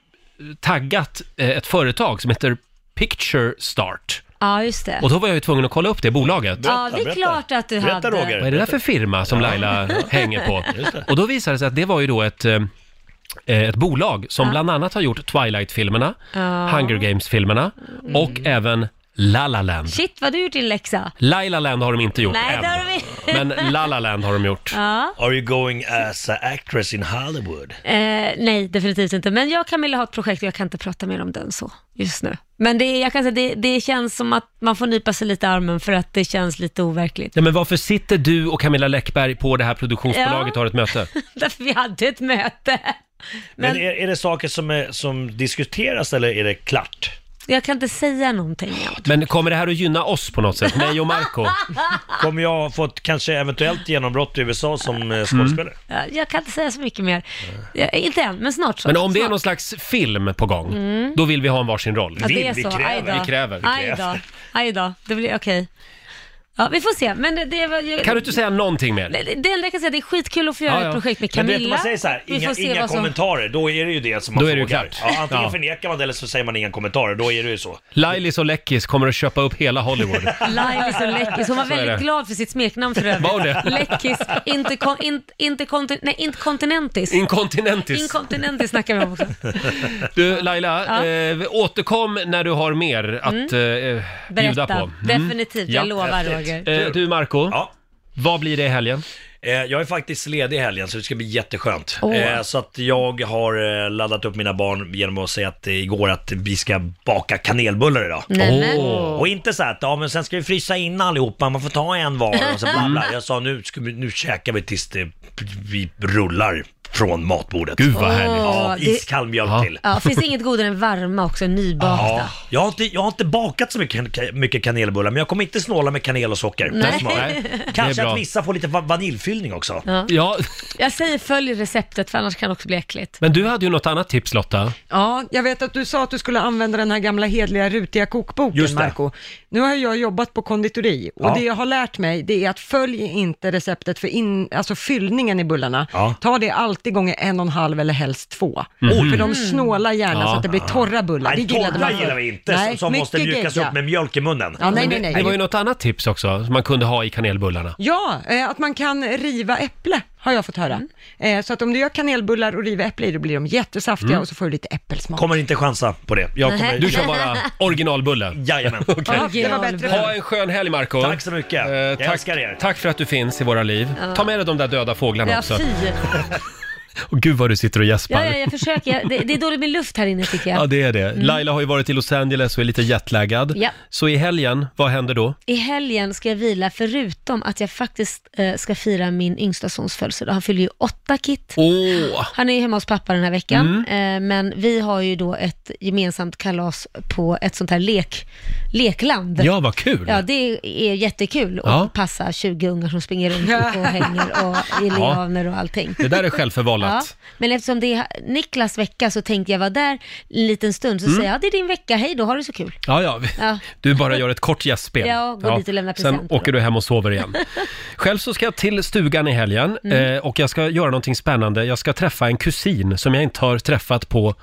Speaker 1: taggat eh, ett företag som heter Picture Start.
Speaker 2: ja, just det.
Speaker 1: Och då var jag ju tvungen att kolla upp det bolaget.
Speaker 2: ja, det är
Speaker 8: berätta.
Speaker 2: klart att du
Speaker 8: Berätta,
Speaker 2: hade.
Speaker 8: Roger.
Speaker 1: Vad är det där för firma som Laila hänger på? Och då visade det sig att det var ju då ett, eh, ett bolag som bland annat har gjort Twilight-filmerna,
Speaker 2: Ja.
Speaker 1: Hunger Games-filmerna och
Speaker 2: Mm.
Speaker 1: även La La Land.
Speaker 2: Shit, vad du gjort din läxa.
Speaker 1: Laila Land har de inte gjort
Speaker 2: Nej,
Speaker 1: än.
Speaker 2: det har de inte.
Speaker 1: Men La La Land har de gjort.
Speaker 2: Ja.
Speaker 8: Are you going as an actress in Hollywood?
Speaker 2: Eh, nej, definitivt inte. Men jag och Camilla har ett projekt och jag kan inte prata mer om den så just nu. Men det, är- jag kan säga, det, det känns som att man får nypa sig lite i armen för att det känns lite overkligt.
Speaker 1: Nej, men varför sitter du och Camilla Läckberg på det här produktionsbolaget och
Speaker 2: Ja.
Speaker 1: har ett möte?
Speaker 2: Därför vi hade ett möte.
Speaker 8: Men,
Speaker 2: Men-
Speaker 8: är, är det saker som, är, som diskuteras eller är det klart?
Speaker 2: Jag kan inte säga någonting.
Speaker 1: Men kommer det här att gynna oss på något sätt? Mig och Marco?
Speaker 8: Kommer jag få ett kanske eventuellt genombrott i USA som
Speaker 1: Mm.
Speaker 8: eh, skådespelare?
Speaker 2: Jag- Jag kan inte säga så mycket mer. Jag, inte än, men snart så.
Speaker 1: Men om det är
Speaker 2: Snart.
Speaker 1: någon slags film på gång,
Speaker 2: Mm.
Speaker 1: då vill vi ha en varsin roll.
Speaker 2: Ja, det är så. Aj då.
Speaker 1: Vi kräver.
Speaker 2: Aj då. Aj då. Det blir okej. Ja, vi får se. Men det, det var ju...
Speaker 1: Kan du inte säga någonting mer?
Speaker 2: Det- Det enda jag kan säga är att det är skitkul att få göra
Speaker 8: Ja, ja.
Speaker 2: ett projekt med
Speaker 8: Men
Speaker 2: Camilla.
Speaker 8: vet du, man säger så här,
Speaker 2: Vi
Speaker 8: inga,
Speaker 2: får se
Speaker 8: inga
Speaker 2: vad som-
Speaker 8: kommentarer, då är det ju det som man
Speaker 1: Då är det ju
Speaker 8: frågar.
Speaker 1: klart.
Speaker 8: Ja, antingen
Speaker 1: Ja.
Speaker 8: förnekar man det eller så säger man inga kommentarer, då är det ju så.
Speaker 1: Lailis och Läckis kommer att köpa upp hela Hollywood.
Speaker 2: Lailis och Läckis. Hon var
Speaker 1: Så är
Speaker 2: väldigt
Speaker 1: det.
Speaker 2: glad för sitt smeknamn för övrigt.
Speaker 1: Var hon det?
Speaker 2: Läckis. Inte, kon, in, inte, kontin, nej, inte kontinentis.
Speaker 1: Inkontinentis.
Speaker 2: Inkontinentis snackar vi om också.
Speaker 1: Du Laila,
Speaker 2: Ja.
Speaker 1: eh, återkom när du har mer att
Speaker 2: Mm.
Speaker 1: eh, bjuda
Speaker 2: Berätta.
Speaker 1: på.
Speaker 2: Definitivt, jag lovar, Häftigt. Roger.
Speaker 1: Eh, du Marco, vad blir det i helgen?
Speaker 8: Eh, Jag är faktiskt ledig i helgen så det ska bli jätteskönt.
Speaker 1: Åh.
Speaker 8: Eh, Så att jag har eh, laddat upp mina barn genom att säga att eh, igår att vi ska baka kanelbullar idag.
Speaker 4: Nämen.
Speaker 8: Åh. Och inte så att, ja men sen ska vi frysa in allihopa, man får ta en var och så bla bla. Jag sa nu, ska vi, nu käkar vi tills det, vi rullar från matbordet.
Speaker 1: Gud
Speaker 2: vad härligt.
Speaker 8: Ja,
Speaker 2: Åh, det-
Speaker 8: iskall mjölk till.
Speaker 2: Ja, finns det inget godare än varma också, nybakta.
Speaker 8: Ja, jag, har inte, jag har inte bakat så mycket, mycket kanelbullar, men jag kommer inte snåla med kanel och socker.
Speaker 2: Nej.
Speaker 8: Den smaken.
Speaker 2: Nej, det är
Speaker 8: Kanske
Speaker 2: bra.
Speaker 8: att vissa får lite va- vaniljfyllning också.
Speaker 2: Ja. Jag säger följ receptet för annars kan det också bli äckligt.
Speaker 1: Men du hade ju något annat tips Lotta.
Speaker 5: Ja, jag vet att du sa att du skulle använda den här gamla hedliga rutiga kokboken,
Speaker 1: Just det.
Speaker 5: Marco. Nu har jag jobbat på konditori och
Speaker 1: Ja.
Speaker 5: det jag har lärt mig det är att följ inte receptet för in, alltså fyllningen i bullarna.
Speaker 4: Ja.
Speaker 5: Ta det alltid gånger en och en halv eller helst två.
Speaker 4: Mhm.
Speaker 5: För de snålar gärna
Speaker 8: Ja.
Speaker 5: så att det blir torra bullar.
Speaker 8: Nej,
Speaker 5: det gillade
Speaker 8: torra
Speaker 5: man
Speaker 8: gillar
Speaker 5: förr.
Speaker 8: vi inte,
Speaker 5: Nej,
Speaker 8: som måste
Speaker 5: mycket
Speaker 8: mjukas
Speaker 5: gegga.
Speaker 8: upp med mjölk i munnen.
Speaker 5: Ja, nej, nej,
Speaker 1: Det,
Speaker 5: nej.
Speaker 1: det var ju något annat tips också som man kunde ha i kanelbullarna.
Speaker 5: Ja, eh, att man kan riva äpple har jag fått höra. Eh, så att om du gör kanelbullar och river äpple i, då blir de jättesaftiga
Speaker 8: Mm.
Speaker 5: och så får du lite äppelsmak.
Speaker 8: Kommer inte chansa på det. Jag kommer...
Speaker 5: Nej. Du kör bara
Speaker 1: originalbulle?
Speaker 8: Jajamän.
Speaker 1: Okej.
Speaker 5: Ja, det var bättre.
Speaker 1: Ha en skön helg Marco
Speaker 8: Tack så mycket.
Speaker 1: Jag tack, älskar er. Tack för att du finns i våra liv.
Speaker 2: Ja.
Speaker 1: Ta med dig de där döda fåglarna
Speaker 2: Ja,
Speaker 1: också.
Speaker 2: fy.
Speaker 1: Och gud vad du sitter och gäspar.
Speaker 2: Ja, ja, jag försöker. Jag- Det, det är dåligt med luft här inne tycker jag.
Speaker 1: Ja, det är det.
Speaker 2: Mm.
Speaker 1: Laila har ju varit i Los Angeles och är lite jetlaggad.
Speaker 2: Ja.
Speaker 1: Så i helgen, vad händer då?
Speaker 2: I helgen ska jag vila förutom att jag faktiskt eh, ska fira min yngsta sons födelsedag. Han fyller ju åtta Kit.
Speaker 1: Åh. Mm.
Speaker 2: Han är ju hemma hos pappa den här veckan. Eh, men vi har ju då ett gemensamt kalas på ett sånt här lek, lekland.
Speaker 1: Ja, vad kul.
Speaker 2: Ja, det är jättekul att
Speaker 1: Ja.
Speaker 2: passa 20 ungar som springer runt och hänger och i
Speaker 1: Ja.
Speaker 2: lianer och allting.
Speaker 1: Det där är självförvållat.
Speaker 2: Ja, men eftersom det är Niklas vecka så tänkte jag vara där en liten stund, så
Speaker 1: Mm.
Speaker 2: säger jag, ja det är din vecka, hej då, har du så kul.
Speaker 1: Ja, ja.
Speaker 2: Ja.
Speaker 1: Du bara gör ett kort gästspel.
Speaker 2: Ja, gå dit och lämna
Speaker 1: Sen
Speaker 2: presenter
Speaker 1: åker du hem och sover igen. Själv så ska jag till stugan i helgen
Speaker 2: Mm.
Speaker 1: eh, och jag ska göra någonting spännande. Jag ska träffa en kusin som jag inte har träffat på,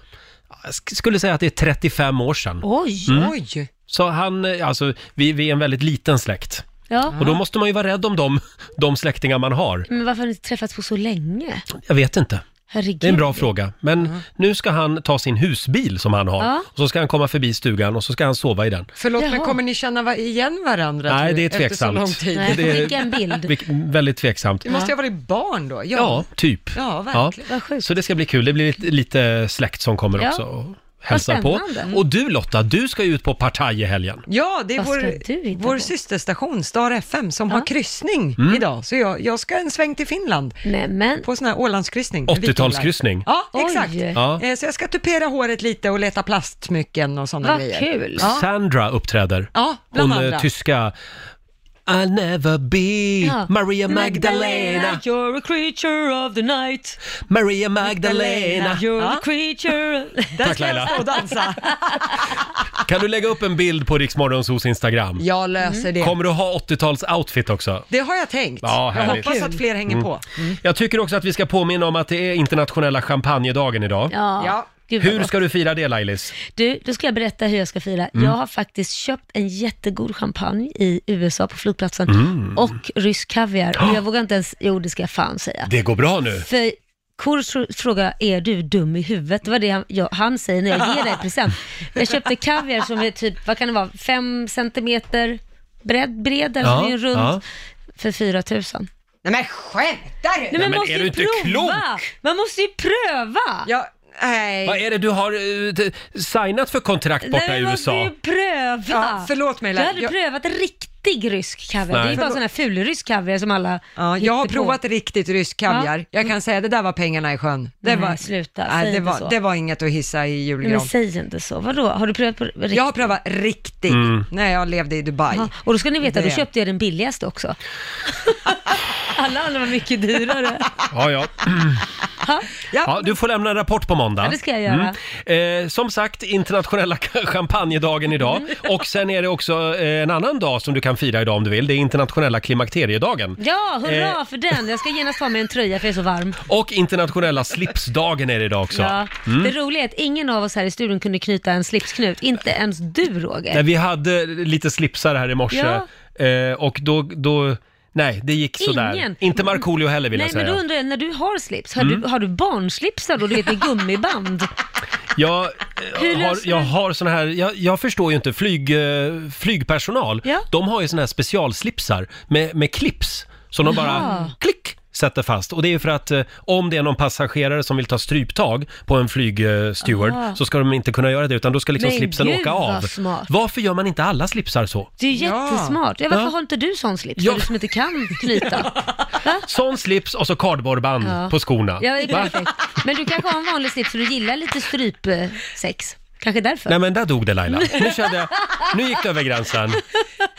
Speaker 1: jag sk- skulle säga att det är 35 år sedan. Mm.
Speaker 2: Oj!
Speaker 5: Oj!
Speaker 1: Så han, eh, alltså vi, vi är en väldigt liten släkt.
Speaker 2: Ja.
Speaker 1: Och då måste man ju vara rädd om de, de släktingar man har.
Speaker 2: Men varför har ni inte träffats på så länge?
Speaker 1: Jag vet inte.
Speaker 2: Herregud.
Speaker 1: Det är en bra fråga. Men nu ska han ta sin husbil som han har.
Speaker 5: Ja.
Speaker 1: Och så ska han komma förbi stugan och så ska han sova i den.
Speaker 5: Förlåt, men kommer ni känna va- igen varandra?
Speaker 1: Nej,
Speaker 5: tror du,
Speaker 1: det är
Speaker 5: efter så lång
Speaker 1: tveksamt.
Speaker 5: tid?
Speaker 1: Det är- vilk- väldigt tveksamt.
Speaker 5: Det måste ju ha varit barn då? Ja,
Speaker 1: Ja, typ.
Speaker 5: Ja, verkligen.
Speaker 1: Så det ska bli kul. Det blir lite, lite släkt som kommer
Speaker 5: Ja.
Speaker 1: också och hälsar
Speaker 5: Vad
Speaker 1: på.
Speaker 5: spännande.
Speaker 1: Och du Lotta, du ska ju ut på partaj i helgen.
Speaker 5: Ja, det är
Speaker 2: Vad ska
Speaker 5: vår, vår systerstation Star FM som har kryssning
Speaker 1: Mm.
Speaker 5: idag. Så jag, jag ska en sväng till Finland på sån här Ålandskryssning.
Speaker 1: 80-talskryssning.
Speaker 5: Ja,
Speaker 2: Oj.
Speaker 5: exakt.
Speaker 1: Ja.
Speaker 5: Eh, Så jag ska tupera håret lite och leta plastsmycken och sådana
Speaker 2: Vad
Speaker 5: grejer.
Speaker 2: kul.
Speaker 5: Ja.
Speaker 1: Sandra uppträder.
Speaker 5: Ja,
Speaker 1: Hon
Speaker 5: bland
Speaker 1: eh,
Speaker 5: andra.
Speaker 1: tyska... I'll never be
Speaker 2: Ja.
Speaker 1: Maria Magdalena.
Speaker 2: You're a creature of the night.
Speaker 1: Maria Magdalena.
Speaker 2: You're a creature...
Speaker 1: Tack, ska jag Laila. stå och
Speaker 5: dansa.
Speaker 1: Kan du lägga upp en bild på Riksmorgonsos Instagram?
Speaker 5: Jag löser Mm. det.
Speaker 1: Kommer du ha 80-tals-outfit också?
Speaker 5: Det har jag tänkt.
Speaker 1: Ja,
Speaker 5: jag
Speaker 1: härligt.
Speaker 5: hoppas att fler hänger
Speaker 1: Mm.
Speaker 5: på.
Speaker 1: Jag tycker också att vi ska påminna om att det är internationella champagnedagen idag.
Speaker 2: Ja. Ja. Gud, vad
Speaker 1: Hur
Speaker 2: gott.
Speaker 1: ska du fira det Lailis?
Speaker 2: Du, då ska jag berätta hur jag ska fira.
Speaker 1: Mm.
Speaker 2: Jag har faktiskt köpt en jättegod champagne i USA på flygplatsen
Speaker 1: Mm.
Speaker 2: och rysk kaviar. Och jag vågar inte ens, jo det ska jag fan säga.
Speaker 1: Det går bra nu.
Speaker 2: För Kurs fråga, är du dum i huvudet? Det var det han, jag, han säger när jag ger dig present. Jag köpte kaviar som är typ, vad kan det vara, fem centimeter bredd, bred, eller
Speaker 1: Ja,
Speaker 2: det är en rund,
Speaker 1: ja.
Speaker 2: för 4 000.
Speaker 5: Nej men skämtar du?
Speaker 2: Nej, men man måste ju pröva! Man måste ju pröva!
Speaker 5: Ja, Nej.
Speaker 1: Vad är det du har eh, t- signat för kontrakt borta i
Speaker 2: Nej, men
Speaker 1: USA?
Speaker 2: vad du pröva!
Speaker 5: Ja, förlåt mig,
Speaker 2: Du
Speaker 5: Laila.
Speaker 2: hade
Speaker 5: Jag-
Speaker 2: prövat en riktig rysk kaviar.
Speaker 5: Nej.
Speaker 2: Det är ju bara sådana här fulrysk kaviar som alla
Speaker 5: Ja, jag har
Speaker 2: hittar
Speaker 5: provat
Speaker 2: på.
Speaker 5: riktigt rysk kaviar.
Speaker 2: Ja.
Speaker 5: Jag kan säga, det där var pengarna i sjön. Det
Speaker 2: Nej,
Speaker 5: var,
Speaker 2: sluta.
Speaker 5: Nej,
Speaker 2: Säg
Speaker 5: det,
Speaker 2: inte
Speaker 5: var,
Speaker 2: så.
Speaker 5: det var inget att hissa i julgran.
Speaker 2: Nej, men säg inte så. Vadå? Har du prövat på riktigt?
Speaker 5: Jag har prövat riktigt,
Speaker 1: Mm.
Speaker 5: när jag levde i Dubai.
Speaker 2: Ja, och då ska ni veta, då
Speaker 5: Det-
Speaker 2: köpte jag den billigaste också. alla andra var mycket dyrare.
Speaker 1: Ja, ja.
Speaker 2: Ja.
Speaker 1: Ja, du får lämna en rapport på måndag.
Speaker 2: Ja, det ska jag göra.
Speaker 1: Eh, som sagt, internationella champagnedagen idag.
Speaker 2: Mm.
Speaker 1: Och sen är det också eh, en annan dag som du kan fira idag om du vill. Det är internationella klimakteriedagen.
Speaker 2: Ja, hurra
Speaker 1: Eh.
Speaker 2: för den. Jag ska genast ta mig en tröja för jag är så varm.
Speaker 1: Och internationella slipsdagen är det idag också.
Speaker 2: Ja.
Speaker 1: Mm.
Speaker 2: Det roliga är att ingen av oss här i studion kunde knyta en slipsknut. Inte ens du Roger.
Speaker 1: Nej, vi hade lite slipsar här i morse eh, och då, då, nej det gick sådär.
Speaker 2: Ingen.
Speaker 1: Inte Markoolio heller vill
Speaker 2: Nej,
Speaker 1: jag säga.
Speaker 2: men då undrar jag, när du har slips, har,
Speaker 1: Mm.
Speaker 2: du, har du barnslipsar då? Du vet, i gummiband?
Speaker 1: Jag, eh,
Speaker 2: Hur löser
Speaker 1: har,
Speaker 2: du-
Speaker 1: jag har såna här, jag, jag förstår ju inte, flyg, eh, flygpersonal,
Speaker 2: Ja.
Speaker 1: de har ju såna här specialslipsar med, med clips som de bara
Speaker 2: Jaha.
Speaker 1: klick sätter fast. Och det är ju för att eh, om det är någon passagerare som vill ta stryptag på en flygsteward
Speaker 2: Ah.
Speaker 1: så ska de inte kunna göra det utan då ska liksom
Speaker 2: Men
Speaker 1: slipsen
Speaker 2: gud,
Speaker 1: åka
Speaker 2: vad
Speaker 1: av.
Speaker 2: smart.
Speaker 1: Varför gör man inte alla slipsar så?
Speaker 2: Det är ju
Speaker 1: Ja.
Speaker 2: jättesmart. Ja, varför
Speaker 1: Ja.
Speaker 2: har inte du sån slips?
Speaker 1: Ja.
Speaker 2: Du som inte kan knyta.
Speaker 1: Sån slips och så kardborreband
Speaker 2: Ja.
Speaker 1: på skorna.
Speaker 2: Ja, det är
Speaker 1: Va?
Speaker 2: perfekt. Men du kanske har en vanlig slips för du gillar lite strypsex. Kanske därför.
Speaker 1: Nej men där dog det Laila. Nu kände jag, nu gick det över gränsen.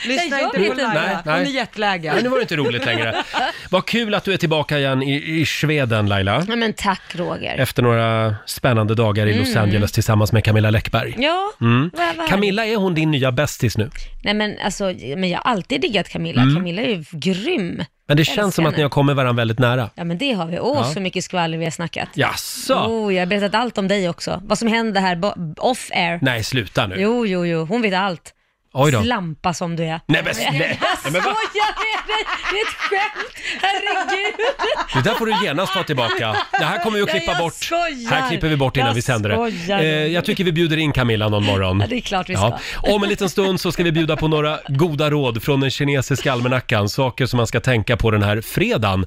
Speaker 5: Lyssna
Speaker 2: jag
Speaker 5: inte
Speaker 2: vet
Speaker 5: på
Speaker 2: inte.
Speaker 1: Nej,
Speaker 5: Laila, hon
Speaker 1: nej.
Speaker 5: är jetlaggad.
Speaker 1: Nej, nu var det inte roligt längre. Vad kul att du är tillbaka igen i, i Sveden Laila.
Speaker 2: Ja, men tack Roger.
Speaker 1: Efter några spännande dagar i Los
Speaker 2: Mm.
Speaker 1: Angeles tillsammans med Camilla Läckberg.
Speaker 2: Ja,
Speaker 1: Mm.
Speaker 2: vad- vad härligt.
Speaker 1: Camilla, är hon din nya bästis nu?
Speaker 2: Nej men alltså, men jag har alltid diggat Camilla.
Speaker 1: Mm.
Speaker 2: Camilla är ju grym.
Speaker 1: Men det
Speaker 2: Älskar
Speaker 1: känns som att
Speaker 2: henne.
Speaker 1: ni har kommit varandra väldigt nära.
Speaker 2: Ja men det har vi. Åh,
Speaker 1: Ja.
Speaker 2: så mycket skvaller vi har snackat.
Speaker 1: Jaså?
Speaker 2: Oh, jag har berättat allt om dig också. Vad som hände här bo- off air.
Speaker 1: Nej, sluta nu.
Speaker 2: Jo, jo, jo. Hon vet allt.
Speaker 1: Oj då.
Speaker 2: Slampa som du är.
Speaker 1: Nej, men snä- Nej,
Speaker 2: Jag
Speaker 1: men va?
Speaker 2: skojar med dig! Det är ett skämt! Herregud!
Speaker 1: Det där får du genast ta tillbaka. Det här kommer vi att
Speaker 2: Ja,
Speaker 1: klippa
Speaker 2: jag
Speaker 1: bort.
Speaker 2: skojar.
Speaker 1: Här klipper vi bort innan
Speaker 2: Jag
Speaker 1: vi sänder det.
Speaker 2: skojar.
Speaker 1: Eh, jag tycker vi bjuder in Camilla någon morgon.
Speaker 2: Ja, det är klart vi ska.
Speaker 1: Om en liten stund så ska vi bjuda på några goda råd från den kinesiska almanackan. Saker som man ska tänka på den här fredagen.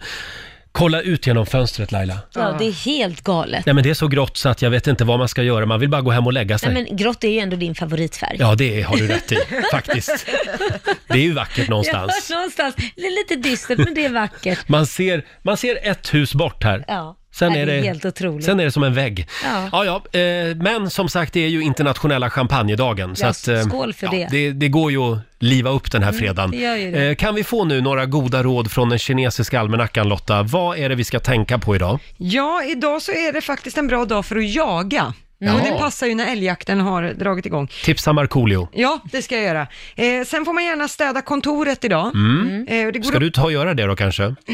Speaker 1: Kolla ut genom fönstret Laila.
Speaker 2: Ja, det är helt galet.
Speaker 1: Nej men det är så grått så att jag vet inte vad man ska göra. Man vill bara gå hem och lägga sig.
Speaker 2: Nej, men grått är ju ändå din favoritfärg.
Speaker 1: Ja, det har du rätt i, faktiskt. Det är ju vackert någonstans.
Speaker 2: Ja, någonstans. Det är lite dystert, men det är vackert.
Speaker 1: Man ser, man ser ett hus bort här.
Speaker 2: Ja,
Speaker 1: Sen
Speaker 2: Nej,
Speaker 1: är det,
Speaker 2: helt otroligt.
Speaker 1: Sen är det som en vägg.
Speaker 2: Ja.
Speaker 1: Ja, ja, eh, men som sagt, det är ju internationella champagnedagen. Så
Speaker 2: Ja,
Speaker 1: att, eh,
Speaker 2: skål för det.
Speaker 1: det. Det går ju att liva upp den här
Speaker 2: Mm,
Speaker 1: fredagen.
Speaker 2: det gör ju det.
Speaker 1: Eh, kan vi få nu några goda råd från den kinesiska almanackan, Lotta? Vad är det vi ska tänka på idag?
Speaker 5: Ja, idag så är det faktiskt en bra dag för att jaga.
Speaker 1: Mm.
Speaker 5: Och det
Speaker 1: Jaha.
Speaker 5: passar ju när älgjakten har dragit igång.
Speaker 1: Tipsa Markoolio.
Speaker 5: Ja, det ska jag göra. Eh, sen får man gärna städa kontoret idag.
Speaker 1: Mm.
Speaker 5: Eh, och det går
Speaker 1: Ska
Speaker 5: att-
Speaker 1: du ta och göra det då kanske?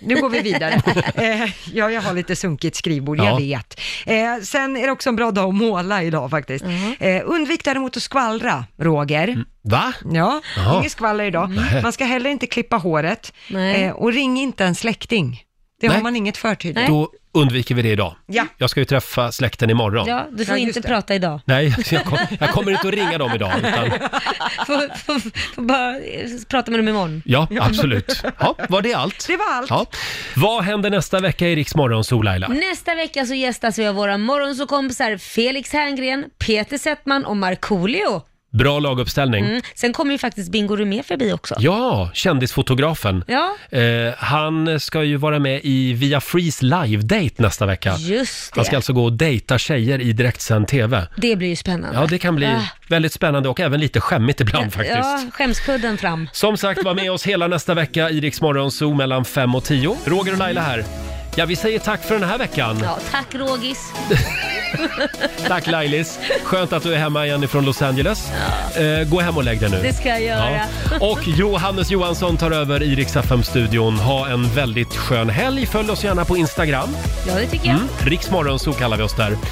Speaker 5: Nu går vi vidare. Eh, ja, jag har lite sunkigt skrivbord,
Speaker 1: Ja.
Speaker 5: jag vet. Eh, sen är det också en bra dag att måla idag faktiskt. Eh, undvik däremot att skvallra, Roger.
Speaker 1: Mm. Va?
Speaker 5: Ja,
Speaker 1: Jaha. Mm.
Speaker 5: inget skvaller idag.
Speaker 1: Nej.
Speaker 5: Man ska heller inte klippa håret.
Speaker 2: Nej.
Speaker 5: Eh, och ring inte en släkting. Det
Speaker 1: Nej.
Speaker 5: har man inget för tydligen.
Speaker 1: Då undviker vi det idag.
Speaker 5: Ja.
Speaker 1: Jag ska ju träffa släkten imorgon.
Speaker 2: Ja, du får
Speaker 5: Ja, just
Speaker 2: inte
Speaker 5: det.
Speaker 2: prata idag.
Speaker 1: Nej, jag, kom, jag kommer inte att ringa dem idag. Utan,
Speaker 2: Får, får, får bara eh, prata med dem imorgon.
Speaker 1: ja, absolut. Ja, var det allt?
Speaker 5: Det var allt.
Speaker 1: Ja. Vad händer nästa vecka i Riks Morgonzoo, Laila?
Speaker 2: Nästa vecka så gästas vi av våra morgonsåkompisar Felix Herngren, Peter Settman och Markoolio.
Speaker 1: Bra laguppställning.
Speaker 2: Mm. Sen kommer ju faktiskt Bingo Rimér förbi också.
Speaker 1: Ja, kändisfotografen.
Speaker 2: Ja.
Speaker 1: Eh, han ska ju vara med i Via Frees live-date nästa vecka.
Speaker 2: Just det.
Speaker 1: Han ska alltså gå och dejta tjejer i direktsänd TV.
Speaker 2: Det blir ju spännande.
Speaker 1: Ja, det kan bli
Speaker 2: Ah.
Speaker 1: väldigt spännande och även lite skämmigt ibland faktiskt.
Speaker 2: Ja, skämskudden fram.
Speaker 1: Som sagt, var med oss hela nästa vecka i Rix Morgonzoo mellan 5 och 10. Roger och Laila här. Ja, vi säger tack för den här veckan.
Speaker 2: Ja, tack Rogis.
Speaker 1: Tack Lailis. Skönt att du är hemma igen ifrån Los Angeles. Eh, gå hem och lägg dig nu.
Speaker 2: Det ska jag göra.
Speaker 1: Och Johannes Johansson tar över i Rix FM-studion. Ha en väldigt skön helg. Följ oss gärna på Instagram.
Speaker 2: Ja, det tycker jag.
Speaker 1: Mm. Riksmorgon, så kallar vi oss där.